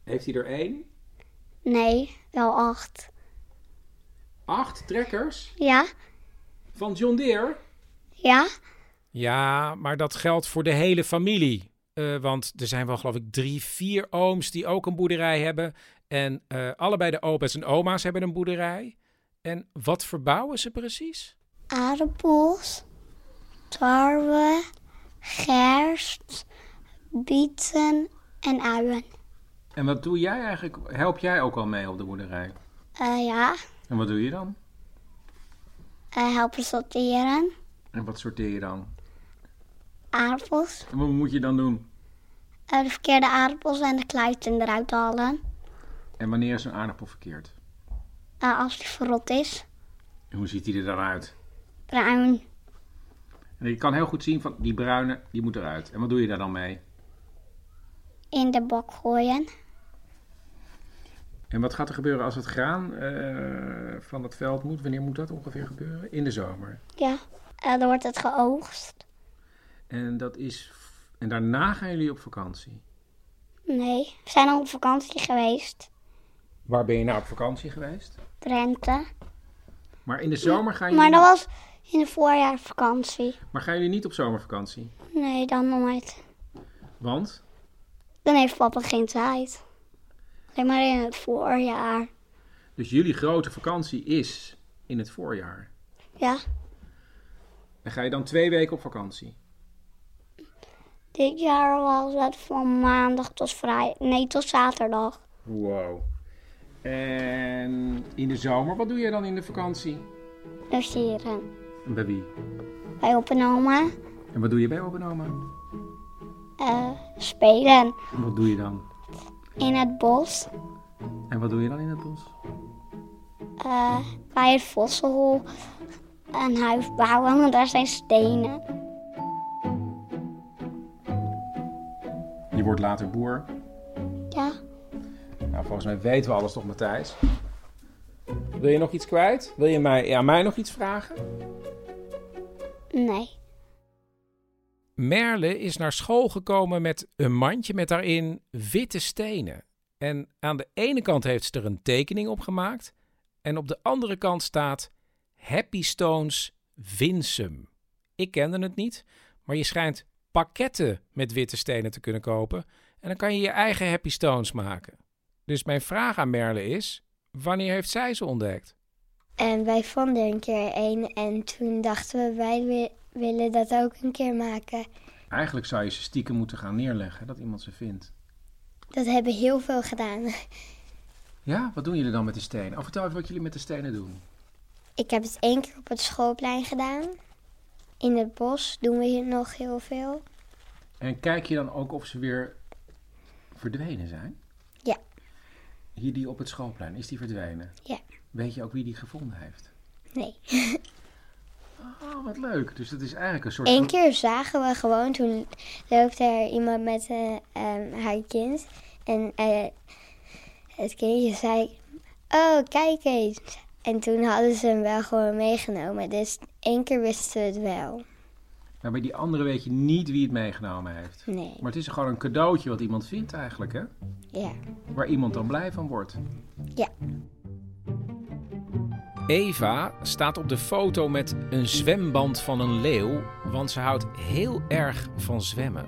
B: Heeft hij er één?
H: Nee, wel acht.
B: Acht trekkers
H: Ja?
B: van John Deere?
H: Ja?
N: Ja, maar dat geldt voor de hele familie. Eh, want er zijn wel, geloof ik, drie, vier ooms die ook een boerderij hebben. En eh, allebei de opa's en oma's hebben een boerderij. En wat verbouwen ze precies?
H: Aardappels, tarwe, gerst, bieten en uien.
B: En wat doe jij eigenlijk? Help jij ook al mee op de boerderij?
H: Eh, ja,
B: En wat doe je dan?
H: Eh helpen sorteren.
B: En wat sorteer je dan?
H: Aardappels.
B: En wat moet je dan doen?
H: Eh, de verkeerde aardappels en de kluiten eruit halen.
B: En wanneer is een aardappel verkeerd?
H: Eh, als die verrot is.
B: En hoe ziet hij er dan uit?
H: Bruin.
B: En je kan heel goed zien van die bruine, die moet eruit. En wat doe je daar dan mee?
H: In de bak gooien.
B: En wat gaat er gebeuren als het graan eh, van het veld moet? Wanneer moet dat ongeveer gebeuren? In de zomer.
H: Ja. Eh, dan wordt het geoogst.
B: En dat is. f- En daarna gaan jullie op vakantie.
H: Nee. We zijn al op vakantie geweest.
B: Waar ben je nou op vakantie geweest?
H: Drenthe.
B: Maar in de zomer gaan jullie.
H: Maar dat was in de voorjaar vakantie.
B: maar gaan jullie niet op zomervakantie?
H: Nee, dan nooit.
B: Want?
H: Dan heeft papa geen tijd. Alleen maar in het voorjaar.
B: Dus jullie grote vakantie is in het voorjaar.
H: Ja.
B: En ga je dan twee weken op vakantie?
H: Dit jaar was het van maandag tot vrijdag. Nee, tot zaterdag.
B: Wow. En in de zomer, wat doe je dan in de vakantie?
H: Logeren.
B: En bij wie?
H: eh, Bij op en oma.
B: En wat doe je bij opa en oma?
H: eh, spelen.
B: En wat doe je dan?
H: In het bos.
B: En wat doe je dan in het bos?
H: eh, bij het vossenhol. Een huis bouwen, want daar zijn stenen.
B: Je wordt later boer.
H: Ja.
B: Nou, volgens mij weten we alles toch, Matthijs? Wil je nog iets kwijt? Wil je mij, ja, mij nog iets vragen?
H: Nee.
N: Merle is naar school gekomen met een mandje met daarin witte stenen. En aan de ene kant heeft ze er een tekening op gemaakt. En op de andere kant staat Happy Stones Winsum. Ik kende het niet, maar je schijnt
B: pakketten met witte stenen te kunnen kopen. En dan kan je je eigen happy stones maken. Dus mijn vraag aan Merle is, wanneer heeft zij ze ontdekt?
F: En wij vonden een keer één en toen dachten we, wij wi- willen dat ook een keer maken.
L: Eigenlijk zou je ze stiekem moeten gaan neerleggen, dat iemand ze vindt.
F: Dat hebben heel veel gedaan.
L: Ja, wat doen jullie dan met de stenen? Oh, vertel even wat jullie met de stenen doen.
F: Ik heb het één keer op het schoolplein gedaan. In het bos doen we hier nog heel veel.
L: En kijk je dan ook of ze weer verdwenen zijn?
F: Ja.
L: Hier die op het schoolplein, is die verdwenen?
F: Ja.
L: Weet je ook wie die gevonden heeft?
F: Nee.
L: Oh, wat leuk. Dus dat is eigenlijk een soort...
F: Eén
L: van-
F: keer zagen we gewoon, toen loopt er iemand met eh, ehm, haar kind. En eh, het kindje zei, oh kijk eens. En toen hadden ze hem wel gewoon meegenomen. Dus één keer wisten we het wel.
L: Maar Nou, bij die andere weet je niet wie het meegenomen heeft.
F: Nee.
L: Maar het is gewoon een cadeautje wat iemand vindt eigenlijk, hè?
F: Ja.
L: Waar iemand dan blij van wordt.
F: Ja.
B: Eva staat op de foto met een zwemband van een leeuw, want ze houdt heel erg van zwemmen.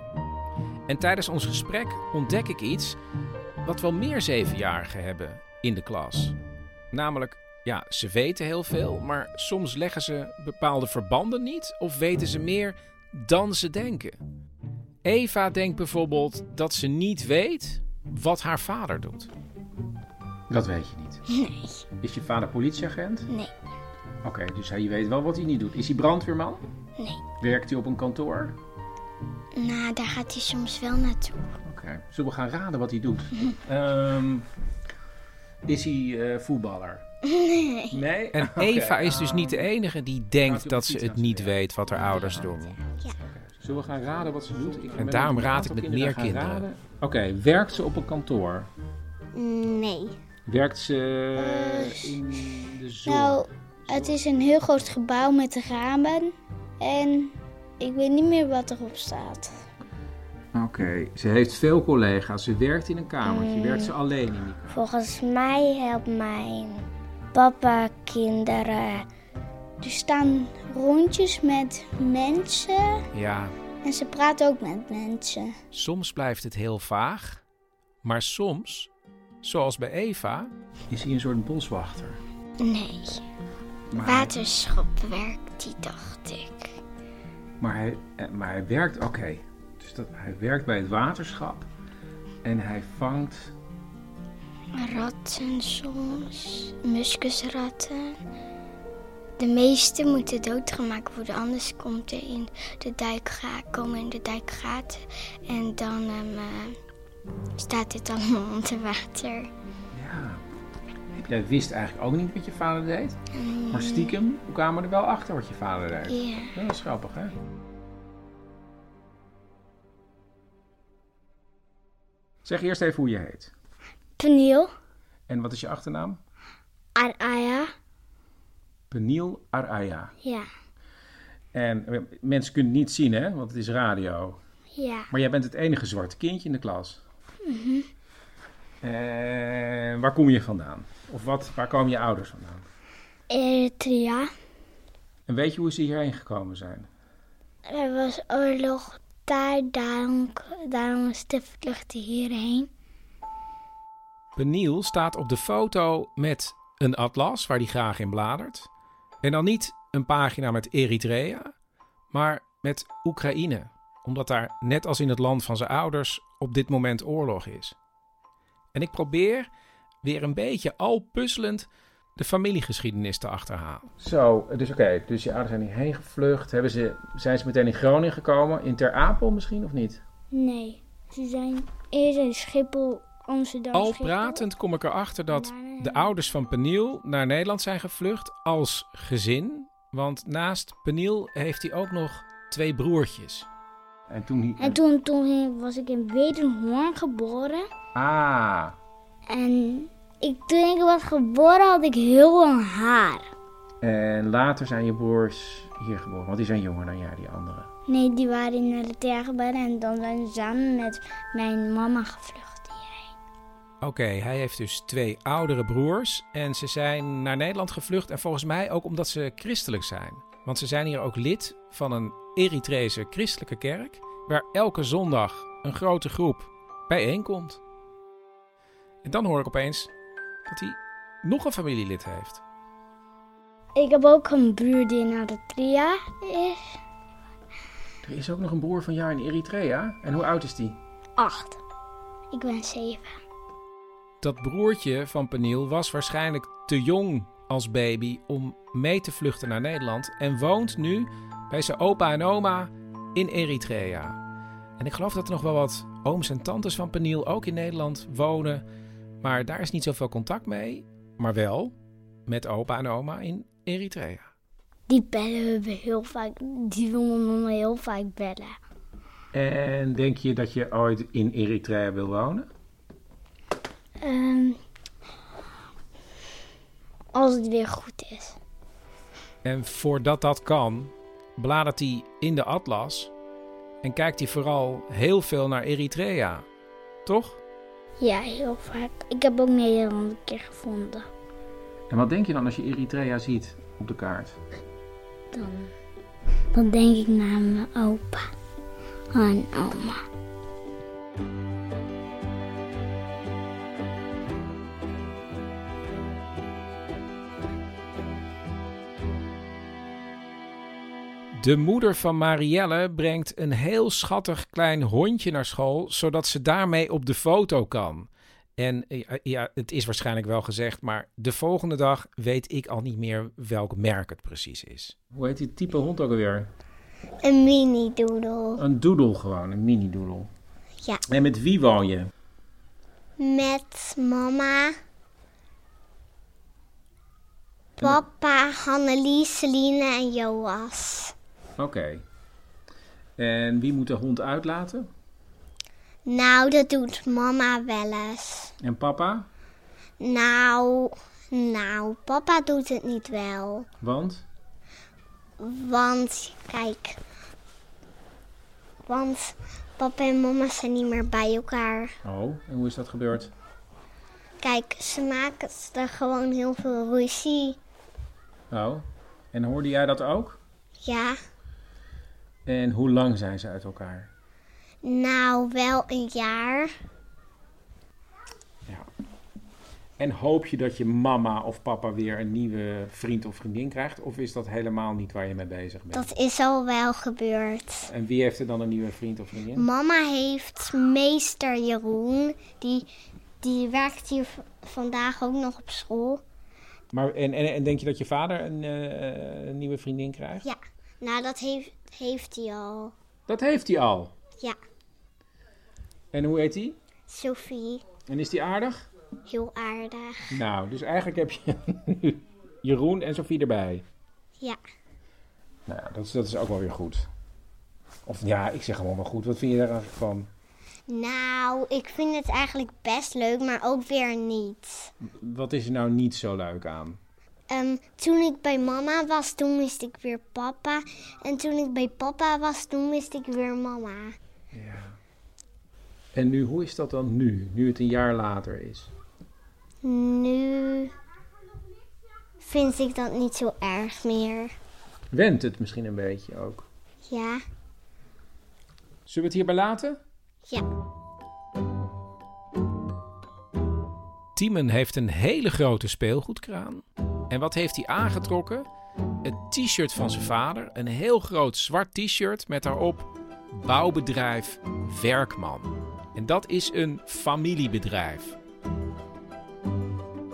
B: En tijdens ons gesprek ontdek ik iets wat wel meer zevenjarigen hebben in de klas. Namelijk, ja, ze weten heel veel, maar soms leggen ze bepaalde verbanden niet of weten ze meer dan ze denken. Eva denkt bijvoorbeeld dat ze niet weet wat haar vader doet.
L: Dat weet je niet.
F: Nee.
L: Is je vader politieagent?
F: Nee.
L: Oké, dus hij weet wel wat hij niet doet. Is hij brandweerman?
F: Nee.
L: Werkt hij op een kantoor?
F: Nou, daar gaat hij soms wel naartoe.
L: Oké. Zullen we gaan raden wat hij doet? Ehm, is hij eh, voetballer?
F: Nee.
L: Nee?
B: En
L: Oké,
B: Eva is dus
L: ehm,
B: niet de enige die
L: Gaat
B: denkt
L: u
B: dat
L: op
B: ze
L: fiets
B: het niet weet wat haar ouders doen.
L: Zullen we gaan raden wat ze doet? Ik ben
B: En
L: met
B: daarom
L: een
B: raad ik
L: aantal
B: met meer
L: gaan
B: kinderen.
L: raden. Oké, werkt ze op een kantoor?
K: Nee.
L: Werkt ze eh, in de zon?
K: Nou, het is een heel groot gebouw met ramen. En ik weet niet meer wat erop staat.
L: Oké, ze heeft veel collega's. Ze werkt in een kamertje.
K: Mm.
L: Werkt ze alleen in die
K: Volgens mij helpt mijn papa kinderen. Er staan rondjes met mensen.
B: Ja,
K: En ze praat ook met mensen.
B: soms blijft het heel vaag, maar soms, zoals bij Eva,
L: is hij een soort boswachter.
K: Nee.
L: Maar-
K: Waterschap werkt die, dacht ik.
L: Maar hij, eh, maar hij werkt, oké. Dus dat, hij werkt bij het waterschap. En hij vangt.
K: Ratten soms, muskusratten. De meeste moeten doodgemaakt worden, anders komt er in de dijk ga- komen in de dijkgaten en dan ehm, eh, staat dit allemaal onder water.
L: Ja. Jij wist eigenlijk ook niet wat je vader deed.
K: Mm.
L: Maar stiekem kwamen we er wel achter wat je vader deed.
K: Ja.
L: Ja, Dat is grappig, hè? Zeg eerst even hoe je heet.
K: Peniel,
L: En wat is je achternaam?
K: Araya,
L: Peniel Araya.
K: ja,
L: En eh, mensen kunnen het niet zien, hè? Want het is radio.
K: ja.
L: Maar jij bent het enige zwarte kindje in de klas.
K: Mhm.
L: En waar kom je vandaan? Of wat, waar komen je ouders vandaan?
K: Eritrea.
L: En weet je hoe ze hierheen gekomen zijn?
K: Er was oorlog daar, daarom, daarom is de vluchten hierheen.
B: Peniel staat op de foto met een atlas waar hij graag in bladert. En dan niet een pagina met Eritrea, maar met Oekraïne, omdat daar net als in het land van zijn ouders op dit moment oorlog is. En ik probeer weer een beetje al puzzelend de familiegeschiedenis te achterhalen.
L: Zo, dus oké. dus je ouders zijn hierheen gevlucht. Hebben ze, zijn ze meteen in Groningen gekomen? In Ter Apel misschien of niet?
K: Nee, ze zijn eerst in Schiphol, Amsterdam.
B: Al pratend kom ik erachter dat de ouders van Peniel naar Nederland zijn gevlucht als gezin. Want naast Peniel heeft hij ook nog twee broertjes.
L: En toen
K: En toen, toen was ik in Wedenhoorn geboren.
L: Ah,
K: En ik, toen ik was geboren had ik heel lang haar.
L: en later zijn je broers hier geboren. Want die zijn jonger dan jij, die anderen.
K: Nee, die waren in Eritrea geboren en dan zijn ze samen met mijn mama gevlucht.
B: Oké, hij heeft dus twee oudere broers. En ze zijn naar Nederland gevlucht. En volgens mij ook omdat ze christelijk zijn. Want ze zijn hier ook lid van een Eritrese christelijke kerk. waar elke zondag een grote groep bijeenkomt. En dan hoor ik opeens dat hij nog een familielid heeft.
O: Ik heb ook een broer die naar de drie jaar is.
H: Er is ook nog een broer van jou in Eritrea. En hoe oud is die?
O: Acht. Ik ben zeven.
B: Dat broertje van Peniel was waarschijnlijk te jong als baby om mee te vluchten naar Nederland en woont nu bij zijn opa en oma in Eritrea. En ik geloof dat er nog wel wat ooms en tantes van Peniel ook in Nederland wonen, maar daar is niet zoveel contact mee, maar wel met opa en oma in Eritrea.
O: Die bellen we heel vaak. Die wil mijn mama heel vaak bellen.
H: En denk je dat je ooit in Eritrea wil wonen?
O: Ehm, als het weer goed is.
B: En voordat dat kan, bladert hij in de atlas en kijkt hij vooral heel veel naar Eritrea. Toch?
O: Ja, heel vaak. Ik heb ook Nederland een keer gevonden.
H: En wat denk je dan als je Eritrea ziet op de kaart?
O: Dan, dan denk ik naar mijn opa en oma.
B: De moeder van Marielle brengt een heel schattig klein hondje naar school, zodat ze daarmee op de foto kan. En eh, ja, ja, het is waarschijnlijk wel gezegd, maar de volgende dag weet ik al niet meer welk merk het precies is.
H: Hoe heet die type hond ook alweer?
F: Een mini-doodle.
H: Een doedel gewoon, een mini-doedel.
F: Ja.
H: En met wie woon je?
F: Met mama. Papa, Hannelies, Celine en Joas.
H: Oké. En wie moet de hond uitlaten?
F: Nou, dat doet mama wel eens.
H: En papa?
F: Nou, nou, papa doet het niet wel.
H: Want?
F: Want, kijk. Want papa en mama zijn niet meer bij elkaar.
H: Oh, en hoe is dat gebeurd?
F: Kijk, ze maken er gewoon heel veel ruzie.
H: Oh. En hoorde jij dat ook?
F: Ja,
H: En hoe lang zijn ze uit elkaar?
F: nou, wel een jaar.
H: En hoop je dat je mama of papa weer een nieuwe vriend of vriendin krijgt? Of is dat helemaal niet waar je mee bezig bent?
F: Dat is al wel gebeurd.
H: En wie heeft er dan een nieuwe vriend of vriendin?
F: Mama heeft meester Jeroen. Die, die werkt hier v- vandaag ook nog op school.
B: Maar, en, en, en denk je dat je vader een, eh, een nieuwe vriendin krijgt?
F: Ja, nou, dat heeft, heeft hij al.
H: Dat heeft hij al.
F: Ja,
H: En hoe heet hij?
F: Sophie.
H: En is die aardig?
F: Heel aardig.
H: Nou, dus eigenlijk heb je nu Jeroen en Sofie erbij.
F: Ja.
H: Nou, ja, dat, is- dat is ook wel weer goed. Of ja, ik zeg gewoon wel goed. Wat vind je daar eigenlijk van?
F: Nou, ik vind het eigenlijk best leuk, maar ook weer niet.
H: Wat is er nou niet zo leuk aan?
F: Ehm, toen ik bij mama was, toen miste ik weer papa. En toen ik bij papa was, toen miste ik weer mama.
H: En nu, hoe is dat dan nu? Nu het een jaar later is.
F: Nu vind ik dat niet zo erg meer.
H: Wendt het misschien een beetje ook.
F: Ja.
H: Zullen we het hierbij laten?
B: Timen heeft een hele grote speelgoedkraan. En wat heeft hij aangetrokken? Een t-shirt van zijn vader. Een heel groot zwart t-shirt met daarop bouwbedrijf Werkman. En dat is een familiebedrijf.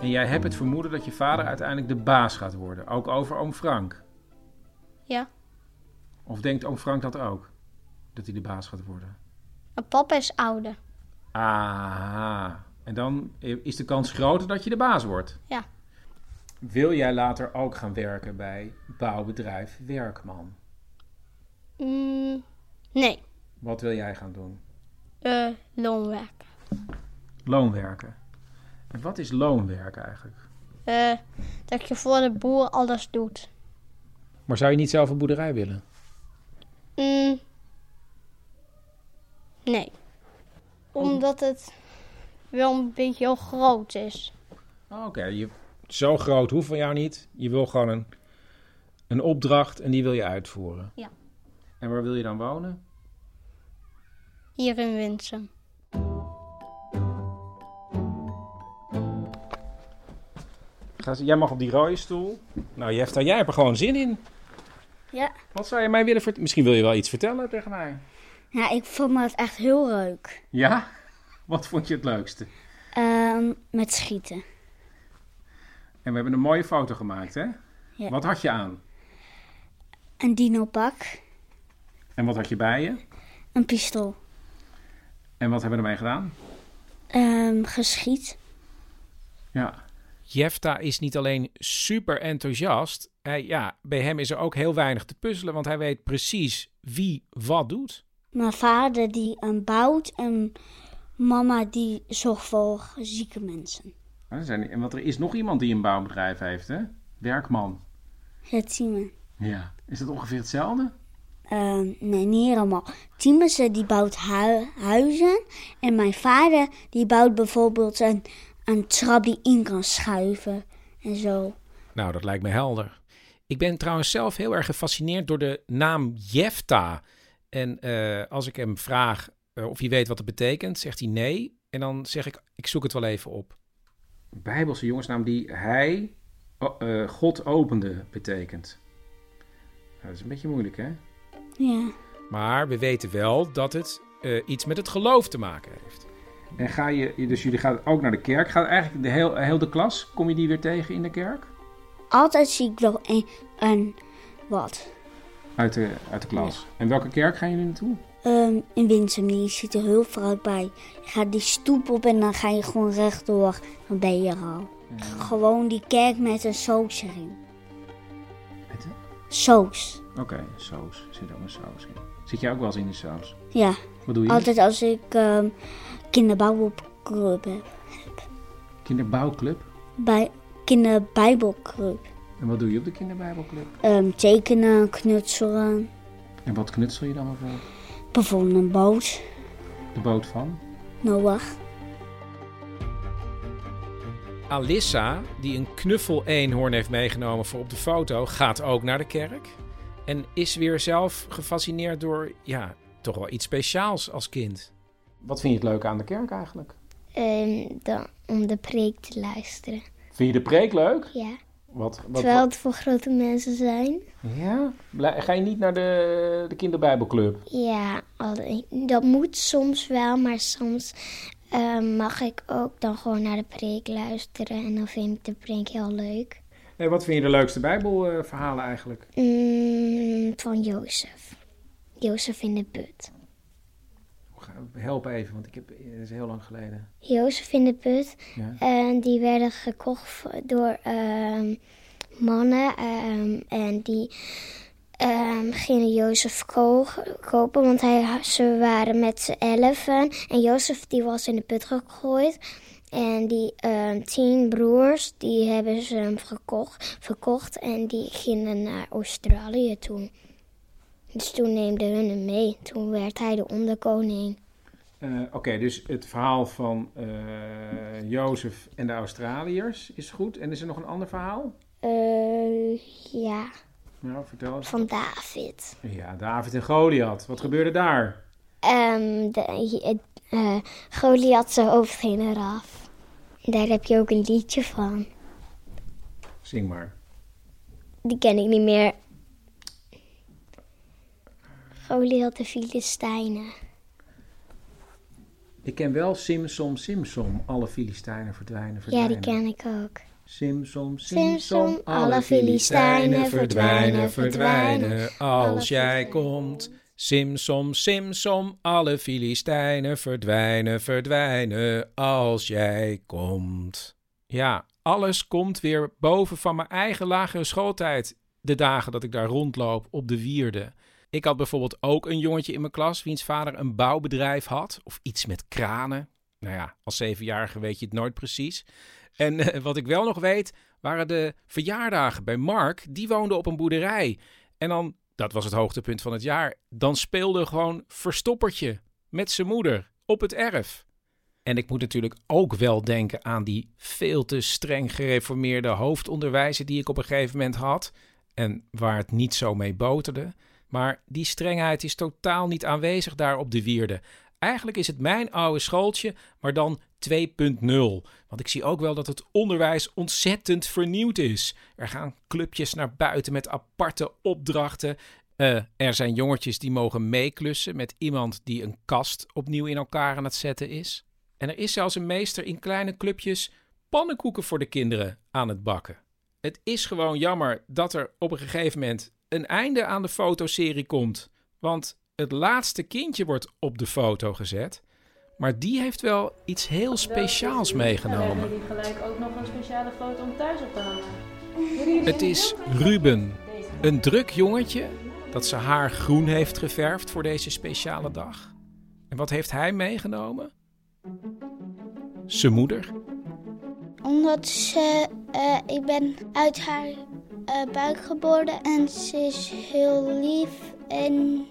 H: En jij hebt het vermoeden dat je vader uiteindelijk de baas gaat worden. Ook over oom Frank.
P: Ja.
H: Of denkt oom Frank dat ook? Dat hij de baas gaat worden.
P: En papa is ouder.
H: Aha. En dan is de kans groter dat je de baas wordt.
P: Ja.
H: Wil jij later ook gaan werken bij bouwbedrijf Werkman?
P: Mm, nee,
H: Wat wil jij gaan doen?
P: Eh loonwerk.
H: Loonwerken. En wat is loonwerk eigenlijk?
P: Eh, dat je voor de boer alles doet.
B: Maar zou je niet zelf een boerderij willen?
P: Mm, nee. Omdat het wel een beetje heel groot is.
B: Oké, je... zo groot hoeft van jou niet. Je wil gewoon een, een opdracht en die wil je uitvoeren.
P: Ja.
H: En waar wil je dan wonen?
P: hier in Winsum.
B: Ga ze- Jij mag op die rode stoel. Nou, Jefta, jij hebt er gewoon zin in.
Q: Ja.
B: Wat zou je mij willen vertellen? Misschien wil je wel iets vertellen tegen mij.
Q: Nou, ik vond het echt heel leuk.
B: Ja? Wat vond je het leukste?
Q: Ehm, met schieten.
B: En we hebben een mooie foto gemaakt, hè?
Q: Ja.
B: Wat had je aan?
Q: Een dinopak.
B: En wat had je bij je?
Q: Een pistool.
B: En wat hebben we ermee gedaan?
Q: Ehm, geschiet.
B: Ja. Jefta is niet alleen super enthousiast. Hij, ja, bij hem is er ook heel weinig te puzzelen, want hij weet precies wie wat doet.
Q: Mijn vader die hem bouwt en mama die zorgt voor zieke mensen.
B: Ah, er zijn- En want er is nog iemand die een bouwbedrijf heeft, hè? Werkman.
Q: Het Tieme.
B: Ja. Is dat ongeveer hetzelfde?
Q: Ehm, nee, niet helemaal. Tieme ze, die bouwt hui- huizen. En mijn vader die bouwt bijvoorbeeld een, een trap die in kan schuiven. En zo.
B: Nou, dat lijkt me helder. Ik ben trouwens zelf heel erg gefascineerd door de naam Jefta. En eh, als ik hem vraag eh, of hij weet wat het betekent, zegt hij nee. En dan zeg ik, ik zoek het wel even op. Bijbelse jongensnaam die hij, oh, eh, God opende, betekent. Nou, dat is een beetje moeilijk, hè?
Q: Ja.
B: Maar we weten wel dat het eh, iets met het geloof te maken heeft. En ga je, dus jullie gaan ook naar de kerk. Gaat eigenlijk de heel, heel de klas, kom je die weer tegen in de kerk?
Q: Altijd zie ik wel een, een wat.
B: Uit de, uit de klas. En welke kerk gaan jullie naartoe?
Q: Ehm, in Winsum, die zit er heel ver uit bij. Je gaat die stoep op en dan ga je gewoon rechtdoor. Dan ben je er al.
B: Mhm.
Q: Gewoon die kerk met een saus erin.
B: Met een?
Q: Saus.
B: Oké, saus. Zit ook een saus in. Zit jij ook wel eens in de saus?
Q: Ja.
B: Wat doe je?
Q: Altijd als ik ehm kinderbouwclub heb.
B: Kinderbouwclub.
Q: Bij kinderbijbelclub.
B: En wat doe je op de kinderbijbelclub?
Q: Ehm, tekenen, knutselen.
B: En wat knutsel je dan bijvoorbeeld?
Q: Bijvoorbeeld een boot. Nou,
B: De boot van?
Q: Noach.
B: Alissa, die een knuffel eenhoorn heeft meegenomen voor op de foto, gaat ook naar de kerk. En is weer zelf gefascineerd door, ja, toch wel iets speciaals als kind. Wat vind je het leuk aan de kerk eigenlijk?
O: Ehm, dan, om de preek te luisteren.
B: Vind je de preek leuk?
O: Ja.
B: Wat, wat,
O: Terwijl het voor grote mensen zijn.
B: Ja? Blij- Ga je niet naar de, de kinderbijbelclub?
O: Ja, al- dat moet soms wel, maar soms eh, mag ik ook dan gewoon naar de preek luisteren. En dan vind ik de preek heel leuk.
B: Nee, Eh, wat vind je de leukste bijbelverhalen eigenlijk?
O: Mm, van Jozef. Jozef in de put.
B: Help even, want ik heb, het is heel lang geleden.
O: Jozef in de put.
B: Ja.
O: En die werden gekocht voor- door ehm, mannen. ehm, en die ehm, gingen Jozef ko- kopen, want hij, ha- ze waren met z'n elfen. En Jozef die was in de put gegooid. En die ehm, tien broers, die hebben ze hem gekocht, verkocht. En die gingen naar Australië toe. Dus toen neemden hun hem mee. Toen werd hij de onderkoning.
B: Eh, Oké, dus het verhaal van eh, Jozef en de Australiërs is goed. En is er nog een ander verhaal?
O: Eh, ja,
B: Nou, vertel eens.
O: van David.
B: Ja, David en Goliath. Wat gebeurde daar?
O: Ehm de, eh, eh, Goliath zijn hoofd ging eraf. Daar heb je ook een liedje van.
B: Zing maar.
O: Die ken ik niet meer. Goliath de Filistijnen.
B: Ik ken wel Simsom, Simsom. Alle Filistijnen verdwijnen,
O: Ja,
B: verdwijnen.
O: die ken ik ook.
B: Simsom,
O: Simsom,
B: Simsom.
O: alle Filistijnen verdwijnen, verdwijnen.
B: Als jij komt. Simsom, Simsom. Alle Filistijnen verdwijnen, verdwijnen. Als jij komt. Ja, alles komt weer boven van mijn eigen lagere schooltijd. De dagen dat ik daar rondloop op de wierde. Ik had bijvoorbeeld ook een jongetje in mijn klas wiens vader een bouwbedrijf had. Of iets met kranen. Nou ja, als zevenjarige weet je het nooit precies. En eh, wat ik wel nog weet, waren de verjaardagen bij Mark. Die woonde op een boerderij. En dan, dat was het hoogtepunt van het jaar, dan speelde gewoon verstoppertje met zijn moeder op het erf. En ik moet natuurlijk ook wel denken aan die veel te streng gereformeerde hoofdonderwijzer die ik op een gegeven moment had. En waar het niet zo mee boterde. Maar die strengheid is totaal niet aanwezig daar op de wierde. Eigenlijk is het mijn oude schooltje, maar dan 2.0. Want ik zie ook wel dat het onderwijs ontzettend vernieuwd is. Er gaan clubjes naar buiten met aparte opdrachten. Eh, er zijn jongetjes die mogen meeklussen met iemand die een kast opnieuw in elkaar aan het zetten is. En er is zelfs een meester in kleine clubjes pannenkoeken voor de kinderen aan het bakken. Het is gewoon jammer dat er op een gegeven moment een einde aan de fotoserie komt. Want het laatste kindje wordt op de foto gezet. Maar die heeft wel iets heel speciaals meegenomen.
L: jullie gelijk ook nog een speciale foto om thuis op te hangen.
B: Het is Ruben, een druk jongetje dat zijn haar groen heeft geverfd voor deze speciale dag. En wat heeft hij meegenomen? Zijn moeder.
O: Omdat ze, eh, ik ben uit haar eh, buik geboren en ze is heel lief en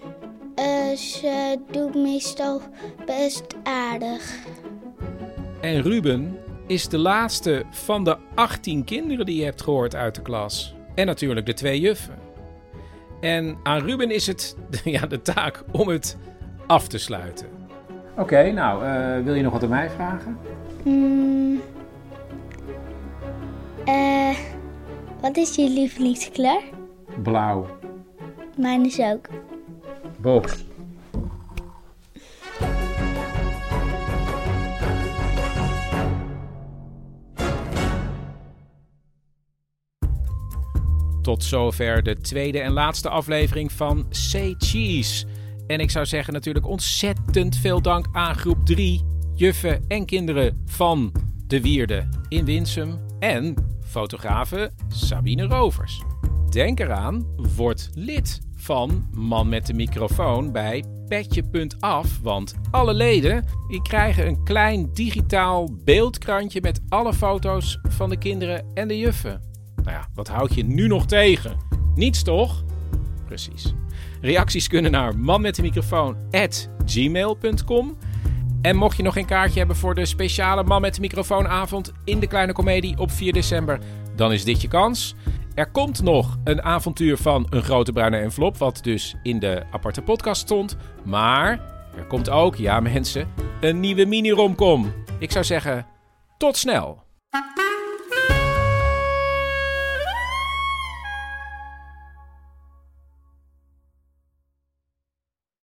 O: eh, ze doet meestal best aardig.
B: En Ruben is de laatste van de 18 kinderen die je hebt gehoord uit de klas. En natuurlijk de twee juffen. En aan Ruben is het ja, de taak om het af te sluiten.
H: Oké, nou, eh, wil je nog wat aan mij vragen?
O: Mm. Eh, wat is je lievelingskleur?
H: Blauw.
O: Mijn is ook.
H: Bob.
B: Tot zover de tweede en laatste aflevering van Say Cheese. En ik zou zeggen natuurlijk ontzettend veel dank aan groep 3, juffen en kinderen van De Wierde in Winsum en fotografe Sabine Rovers. Denk eraan, word lid van Man met de microfoon bij petje.af, want alle leden die krijgen een klein digitaal beeldkrantje met alle foto's van de kinderen en de juffen. Nou ja, wat houd je nu nog tegen? Niets toch? Precies. Reacties kunnen naar manmetdemicrofoon@gmail.com. En mocht je nog geen kaartje hebben voor de speciale Man met de microfoonavond in de Kleine Comedie op 4 december, dan is dit je kans. Er komt nog een avontuur van een grote bruine envelop, wat dus in de aparte podcast stond. Maar er komt ook, ja mensen, een nieuwe mini-romcom. Ik zou zeggen, tot snel!